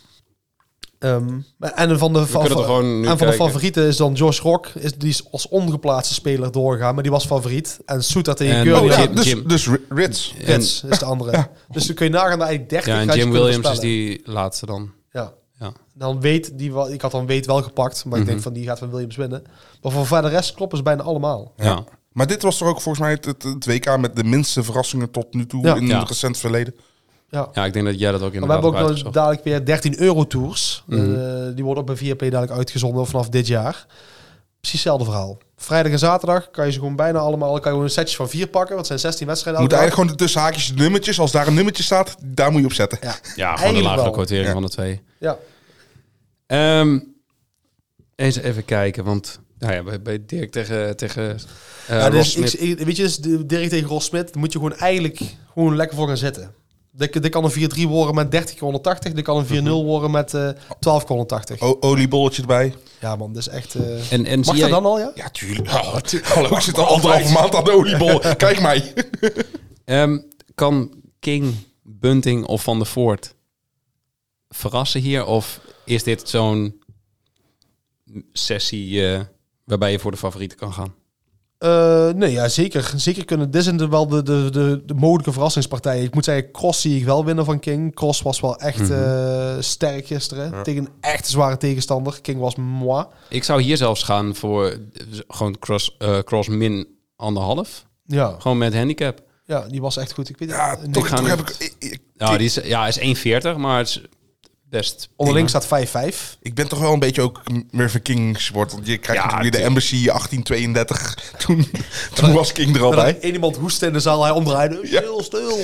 Speaker 9: Ehm, en van de,
Speaker 7: kunnen er gewoon nu
Speaker 9: en van de
Speaker 7: kijken.
Speaker 9: favorieten is dan Josh Rock. Is, die is als ongeplaatste speler doorgegaan, maar die was favoriet. En Soeta tegen
Speaker 7: En-
Speaker 9: Gurney.
Speaker 8: Oh ja,
Speaker 7: Jim-
Speaker 8: dus,
Speaker 7: Jim.
Speaker 8: dus Ri- Rits.
Speaker 7: En,
Speaker 9: Rits is de andere. Dus dan kun je nagaan dat eigenlijk 30
Speaker 7: ja, en
Speaker 9: gaat je
Speaker 7: Jim
Speaker 9: kunnen
Speaker 7: Williams is
Speaker 9: voorspellen.
Speaker 7: die laatste dan.
Speaker 9: Ja.
Speaker 7: Ja. Mhm.
Speaker 9: Dan weet die wel, ik had dan weet wel gepakt, maar ik denk van die gaat van Williams winnen. Maar voor verder rest kloppen ze bijna allemaal.
Speaker 7: Ja.
Speaker 8: Maar dit was toch ook volgens mij het, het, het WK met de minste verrassingen tot nu toe
Speaker 9: Ja.
Speaker 8: in
Speaker 7: Ja.
Speaker 8: het recent verleden.
Speaker 9: Ja.
Speaker 7: Ja, ik denk dat jij dat ook
Speaker 9: Maar we
Speaker 7: inderdaad
Speaker 9: hebben ook
Speaker 7: hebt uitgezocht.
Speaker 9: nog dadelijk weer 13 euro tours.
Speaker 7: Mhm.
Speaker 9: Eh, die worden op een Viaplay dadelijk uitgezonden vanaf dit jaar. Precies hetzelfde verhaal. Vrijdag en zaterdag kan je ze gewoon bijna allemaal, kan je gewoon een setje van vier pakken, want het zijn 16 wedstrijden.
Speaker 8: Moet
Speaker 9: elke
Speaker 8: eigenlijk gewoon de tussenhaakjes, de nummertjes, als daar een nummertje staat, daar moet je op zetten.
Speaker 9: dag. Ja.
Speaker 7: Ja, gewoon de
Speaker 9: eigenlijk
Speaker 7: lagere
Speaker 9: wel.
Speaker 7: quotering
Speaker 8: Ja.
Speaker 7: van de twee.
Speaker 9: ja.
Speaker 7: Eh, Ehm, eens even kijken, want nou ja, bij, bij Dirk tegen, tegen eh,
Speaker 9: Ja,
Speaker 7: Ross
Speaker 9: dus ik,
Speaker 7: Smit-
Speaker 9: ik- weet je, dus de- Dirk tegen Ross Smit, daar moet je gewoon eigenlijk gewoon lekker voor gaan zitten. Dit dit kan een 4-3 worden met 30 keer 180. Dit kan een
Speaker 7: Mhm.
Speaker 9: 4-0 worden met eh 12 keer
Speaker 7: Oh,
Speaker 9: 180.
Speaker 8: O- oliebolletje erbij.
Speaker 9: Ja, man, dat is echt. eh,
Speaker 7: En, en zie
Speaker 9: Mag dat
Speaker 7: jij,
Speaker 9: dan al, ja?
Speaker 8: Ja, tuurlijk. Ja, tu- Hallo, ik zit al anderhalve maand aan de oliebol. Kijk mij.
Speaker 7: Ehm, kan King, Bunting of Van der Voort verrassen hier? Of is dit zo'n sessie eh, waarbij je voor de favorieten kan gaan?
Speaker 9: Eh, nee, ja, zeker. Zeker kunnen. Dit zijn de, wel de, de, de, de mogelijke verrassingspartijen. Ik moet zeggen, Cross zie ik wel winnen van King. Cross was wel
Speaker 8: Mhm.
Speaker 9: echt eh, sterk gisteren. Tegen een echt zware tegenstander. King was moi.
Speaker 7: Ik zou hier zelfs gaan voor eh, gewoon cross, eh, cross min anderhalf.
Speaker 9: Ja.
Speaker 7: Gewoon met handicap.
Speaker 9: ja, die was echt goed. Ik weet
Speaker 8: Ja,
Speaker 9: het- nee.
Speaker 8: toch,
Speaker 7: gaan
Speaker 8: toch heb
Speaker 7: niet.
Speaker 8: ik... ik- ik-
Speaker 7: Nou, die is, ja, is 1,40, maar het is best.
Speaker 9: Onderling staat 5-5.
Speaker 8: Ik ben toch wel een beetje ook Murphy King sport. Want je krijgt
Speaker 7: Ja,
Speaker 8: natuurlijk weer de
Speaker 7: tuurlijk.
Speaker 8: Embassy 1832. Toen, toen was King er al
Speaker 9: Dat
Speaker 8: bij.
Speaker 9: er één iemand hoestte in de zaal, hij omdraaide. Stil, stil.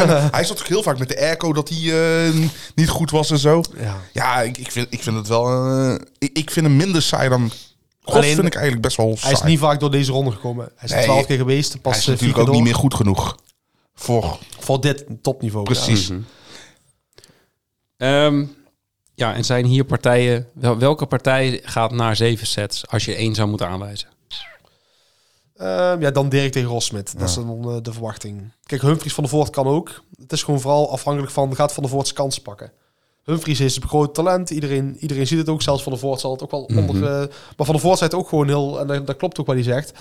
Speaker 8: en hij zat ook heel vaak met de airco dat hij eh, niet goed was en zo.
Speaker 9: Ja.
Speaker 8: Ja, ik, ik, vind, ik vind het wel... eh, ik, ik vind hem minder saai dan... God
Speaker 9: Alleen-
Speaker 8: vind ik eigenlijk best wel
Speaker 9: Hij
Speaker 8: saai.
Speaker 9: is niet vaak door deze ronde gekomen. Hij is
Speaker 8: Nee.
Speaker 9: 12 keer geweest, pas
Speaker 8: Hij is
Speaker 9: eh, vier
Speaker 8: natuurlijk
Speaker 9: keer
Speaker 8: ook niet
Speaker 9: door.
Speaker 8: meer goed genoeg. Voor,
Speaker 9: Voor dit topniveau.
Speaker 8: precies.
Speaker 7: Ehm, ja, en zijn hier partijen... wel- welke partij gaat naar zeven sets als je één zou moeten aanwijzen?
Speaker 9: Ehm, ja, dan Dirk tegen Rosmit. Dat is dan eh, de verwachting. Kijk, Humphries van de Voort kan ook. Het is gewoon vooral afhankelijk van, gaat Van de Voort zijn kansen pakken? Humphries is een groot talent. Iedereen, iedereen ziet het ook. Zelfs Van de Voort zal het ook wel
Speaker 7: Mhm.
Speaker 9: onder... eh, maar Van de Voort zei het ook gewoon heel... En dat, dat klopt ook wat hij zegt.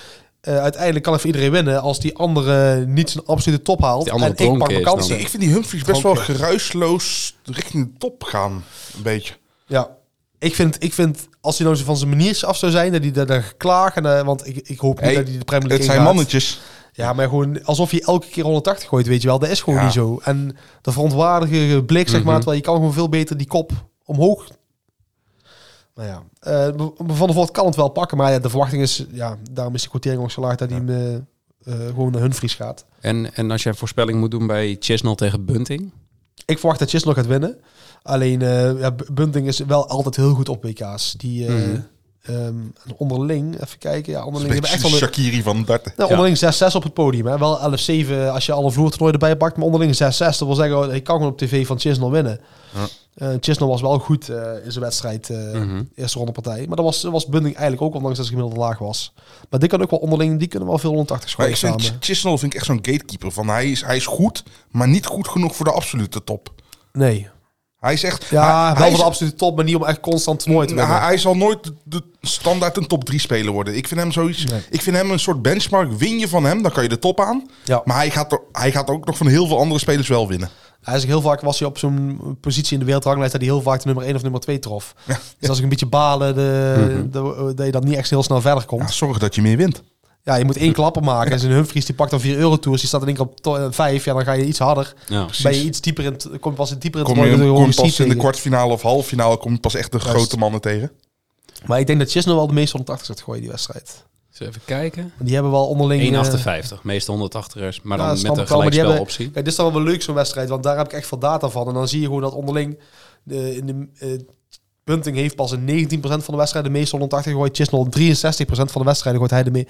Speaker 9: Eh, uiteindelijk kan even iedereen winnen als die andere niet zijn absolute top haalt.
Speaker 7: Die andere
Speaker 9: En ik pak
Speaker 7: dronken
Speaker 9: mijn
Speaker 7: is dan.
Speaker 9: kansen.
Speaker 8: Ik vind die Humphries best wel
Speaker 9: Oké.
Speaker 8: geruisloos richting de top gaan. Een beetje.
Speaker 9: Ja. Ik vind, ik vind, als hij nou zo van zijn manier af zou zijn, dat hij daar- daar geklaagd... en, eh, Want ik, ik hoop niet
Speaker 8: Hey,
Speaker 9: dat hij de Premier League
Speaker 8: Het zijn
Speaker 9: ingaat.
Speaker 8: mannetjes.
Speaker 9: Ja, maar gewoon alsof je elke keer 180 gooit, weet je wel. Dat is gewoon
Speaker 8: Ja. Mhm.
Speaker 9: niet zo. En de verontwaardige blik, zeg maar. Terwijl je kan gewoon veel beter die kop omhoog. Nou ja, eh, Van der Voort kan het wel pakken. Maar ja, de verwachting is, ja, daarom is de quotering ook zo laag dat hij hem, eh, eh, gewoon naar hun vries gaat.
Speaker 7: En, en als jij een voorspelling moet doen bij Chesnall tegen Bunting?
Speaker 9: Ik verwacht dat Chisnok gaat winnen. Alleen, eh, ja, B- Bunting is wel altijd heel goed op WK's. Die eh, ehm, onderling, even kijken. Ja,
Speaker 8: Mhm. Een
Speaker 9: onderling hebben
Speaker 8: beetje
Speaker 9: echt wel een-
Speaker 8: Shakiri van darten.
Speaker 9: Nou,
Speaker 7: Ja.
Speaker 9: onderling 6-6 op het podium. Hè. Wel 11-7 eh, als je alle vloertoernooien erbij pakt. Maar onderling 6-6. Dat wil zeggen, oh, hij kan gewoon op tv van Chisnell winnen. Eh Chisnell was wel goed eh, in zijn wedstrijd. eh,
Speaker 8: Mhm.
Speaker 9: Eerste ronde partij. Maar dat was, dat was Bunding eigenlijk ook, ondanks dat ze gemiddeld laag was. Maar die kan ook wel onderling. Die kunnen wel veel 180
Speaker 8: Maar
Speaker 9: schoten
Speaker 8: ik
Speaker 9: samen.
Speaker 8: vind Ch- Chisnall vind ik echt zo'n gatekeeper. Van hij is, hij is goed, maar niet goed genoeg voor de absolute top.
Speaker 9: Nee.
Speaker 8: Hij is echt...
Speaker 9: Ja, wel
Speaker 8: hij, hij
Speaker 9: voor
Speaker 8: is-
Speaker 9: de absolute top, maar niet om echt constant toernooi te
Speaker 8: Nou,
Speaker 9: winnen.
Speaker 8: hij, hij zal nooit de, de standaard een top 3 speler worden. Ik vind hem zoiets.
Speaker 9: Nee.
Speaker 8: Ik vind hem een soort benchmark. Win je van hem, dan kan je de top aan.
Speaker 9: Ja.
Speaker 8: Maar hij gaat, er, hij gaat ook nog van heel veel andere spelers wel winnen.
Speaker 9: Hij is ook heel vaak was hij op zo'n positie in de wereldranglijst dat hij heel vaak de nummer 1 of nummer 2 trof. Dus als ik een beetje balen, de,
Speaker 8: Mhm.
Speaker 9: de- dat je dan niet echt heel snel verder komt.
Speaker 8: Ja, zorg dat je meer wint.
Speaker 9: Ja, je moet één klapper maken. En zijn Humphries die pakt dan 4 euro tours. Die staat in één keer op to- eh, vijf. Ja, dan ga je iets harder.
Speaker 7: Ja.
Speaker 9: Ben je iets dieper in... het- Kom pas in dieper in het
Speaker 8: Kom je,
Speaker 9: toernooi, dan
Speaker 8: kom
Speaker 9: je
Speaker 8: je pas
Speaker 9: Steve
Speaker 8: in de
Speaker 9: tegen.
Speaker 8: kwartfinale of halffinale kom je pas echt de grote mannen tegen.
Speaker 9: Maar ik denk dat Chisnell wel de meeste 180 gaat gooien die wedstrijd.
Speaker 7: Zullen we even kijken?
Speaker 9: Want die hebben wel onderling...
Speaker 7: eh, 1,58. Meeste 180ers, maar
Speaker 9: eh, ja,
Speaker 7: dan met
Speaker 9: standaard
Speaker 7: een
Speaker 9: wel, maar die hebben-
Speaker 7: gelijkspeloptie.
Speaker 9: Kijk, dit is dan wel leuk zo'n wedstrijd. Want daar heb ik echt veel data van. En dan zie je gewoon dat onderling... eh, in de, eh, Bunting heeft pas in 19% van de wedstrijden de meeste 180 gegooid. Chisnell 63% van de wedstrijden gooit hij de mee.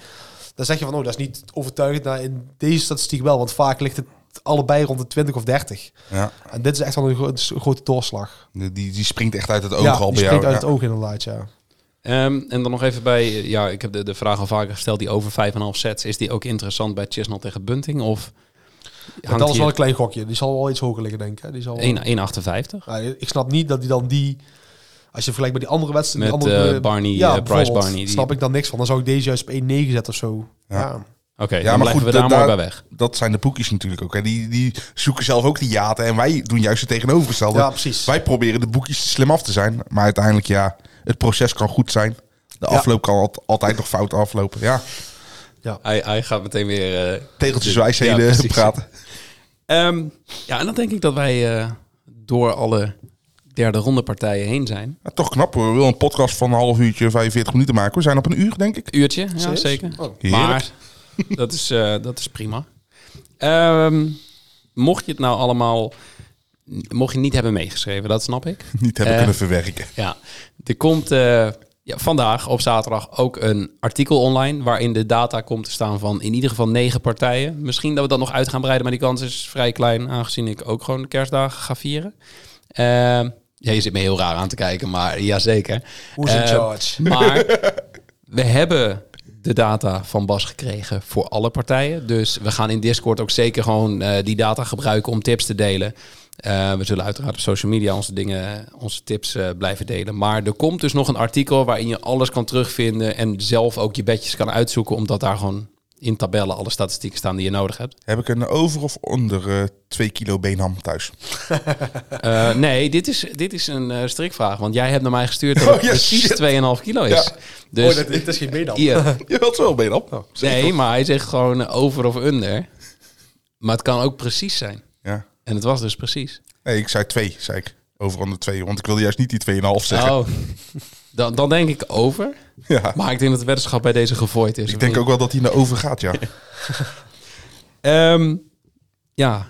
Speaker 9: Dan zeg je van, oh, dat is niet overtuigend. Nou, in deze statistiek wel. Want vaak ligt het allebei rond de 20 of 30.
Speaker 8: Ja.
Speaker 9: En dit is echt wel een gro- een grote doorslag.
Speaker 8: Die, die springt echt uit het oog
Speaker 9: ja,
Speaker 8: al
Speaker 9: die
Speaker 8: bij
Speaker 9: springt
Speaker 8: jou.
Speaker 9: uit
Speaker 8: Ja.
Speaker 9: het oog inderdaad, ja.
Speaker 7: Ehm, en dan nog even bij, eh, ja, ik heb de, de vraag al vaker gesteld, die over 5,5 sets, is die ook interessant bij Chisnall tegen Bunting? Of
Speaker 9: Maar
Speaker 7: hangt
Speaker 9: dat is wel een
Speaker 7: hier
Speaker 9: klein gokje. Die zal wel iets hoger liggen, denk ik. hè. Die zal wel-
Speaker 7: 1,58?
Speaker 9: Ja, ik snap niet dat die dan die... Als je vergelijkt met die andere wedstrijd... die
Speaker 7: Met,
Speaker 9: andere,
Speaker 7: eh, Barney, eh, Price
Speaker 9: bijvoorbeeld,
Speaker 7: Barney, die-
Speaker 9: snap ik dan niks van. Dan zou ik deze juist op 1,9 zetten of zo. Ja.
Speaker 7: Oké, dan
Speaker 8: maar
Speaker 7: blijven
Speaker 8: goed,
Speaker 7: we daar
Speaker 8: da-
Speaker 7: mooi bij
Speaker 8: daar-
Speaker 7: weg.
Speaker 8: Dat zijn de boekjes natuurlijk ook. Hè. Die, die zoeken zelf ook die jaten. En wij doen juist het tegenovergestelde.
Speaker 9: Ja, precies.
Speaker 8: Wij proberen de boekjes slim af te zijn. Maar uiteindelijk, ja, het proces kan goed zijn. De
Speaker 9: Ja.
Speaker 8: afloop kan al- altijd nog fout aflopen. Ja,
Speaker 7: Hij, hij gaat meteen weer... eh,
Speaker 8: tegeltjeswijsheden
Speaker 7: Ja, precies.
Speaker 8: praten.
Speaker 7: Ehm, ja, en dan denk ik dat wij eh, door alle derde ronde partijen heen zijn.
Speaker 8: Ja, toch knap hoor. We willen een podcast van een half uurtje, 45 minuten maken. We zijn op een uur, denk ik.
Speaker 7: Uurtje, ja, zeker.
Speaker 9: Oh,
Speaker 8: Heerlijk.
Speaker 7: maar dat is, eh, dat is prima. Ehm, mocht je het nou allemaal... Mocht je niet hebben meegeschreven, dat snap ik.
Speaker 8: Niet hebben
Speaker 7: Eh,
Speaker 8: kunnen verwerken.
Speaker 7: Ja, er komt eh, ja, vandaag op zaterdag ook een artikel online waarin de data komt te staan van in ieder geval negen partijen. Misschien dat we dat nog uit gaan breiden, maar die kans is vrij klein, aangezien ik ook gewoon de kerstdagen ga vieren. Eh, ja, je zit me heel raar aan te kijken, maar jazeker.
Speaker 9: Who's in
Speaker 7: Eh,
Speaker 9: charge?
Speaker 7: Maar we hebben de data van Bas gekregen voor alle partijen. Dus we gaan in Discord ook zeker gewoon eh, die data gebruiken om tips te delen. Eh, we zullen uiteraard op social media onze dingen, onze tips eh, blijven delen. Maar er komt dus nog een artikel waarin je alles kan terugvinden en zelf ook je bedjes kan uitzoeken, omdat daar gewoon in tabellen alle statistieken staan die je nodig hebt.
Speaker 8: Heb ik een over of onder eh, 2 kilo beenham thuis?
Speaker 7: Eh, nee, dit is, dit is een eh, strikvraag, want jij hebt naar mij gestuurd dat het
Speaker 8: Oh, ja,
Speaker 7: precies
Speaker 8: shit.
Speaker 7: 2,5 kilo is.
Speaker 8: Ja.
Speaker 7: Dus
Speaker 9: Oh, dat, dit is geen meedam.
Speaker 7: hier,
Speaker 8: Je wilt wel beenham.
Speaker 7: Nee, maar hij zegt gewoon eh, over of under. Maar het kan ook precies zijn.
Speaker 8: Ja.
Speaker 7: En het was dus precies.
Speaker 8: Nee, ik zei twee, zei ik. over onder 2. Want ik wilde juist niet die 2,5 zeggen.
Speaker 7: Oh, dan, dan denk ik over.
Speaker 8: ja.
Speaker 7: Maar ik denk dat de weddenschap bij deze gevooid is.
Speaker 8: Dus Ik denk ook wel dat hij naar over gaat, ja.
Speaker 7: Ehm, ja,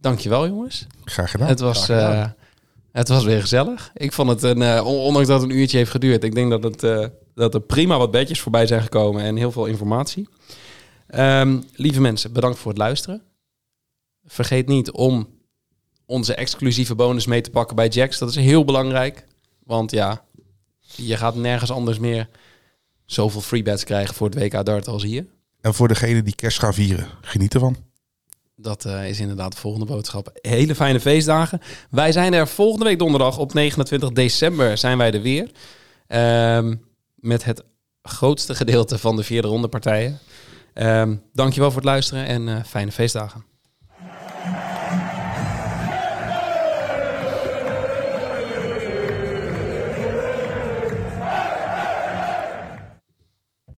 Speaker 7: dankjewel jongens.
Speaker 8: Graag gedaan.
Speaker 7: het, was, eh, het was weer gezellig. Ik vond het, een, eh, on- ondanks dat het een uurtje heeft geduurd, ik denk dat, het, eh, dat er prima wat bedjes voorbij zijn gekomen en heel veel informatie. Ehm, lieve mensen, bedankt voor het luisteren. Vergeet niet om onze exclusieve bonus mee te pakken bij Jax. Dat is heel belangrijk, want ja, je gaat nergens anders meer zoveel free bets krijgen voor het WK Dart als hier.
Speaker 8: En voor degene die kerst gaan vieren, geniet ervan.
Speaker 7: Dat eh, is inderdaad de volgende boodschap. Hele fijne feestdagen. Wij zijn er volgende week donderdag op 29 december zijn wij er weer. Ehm, met het grootste gedeelte van de vierde ronde partijen. Ehm dankjewel voor het luisteren en eh, fijne feestdagen.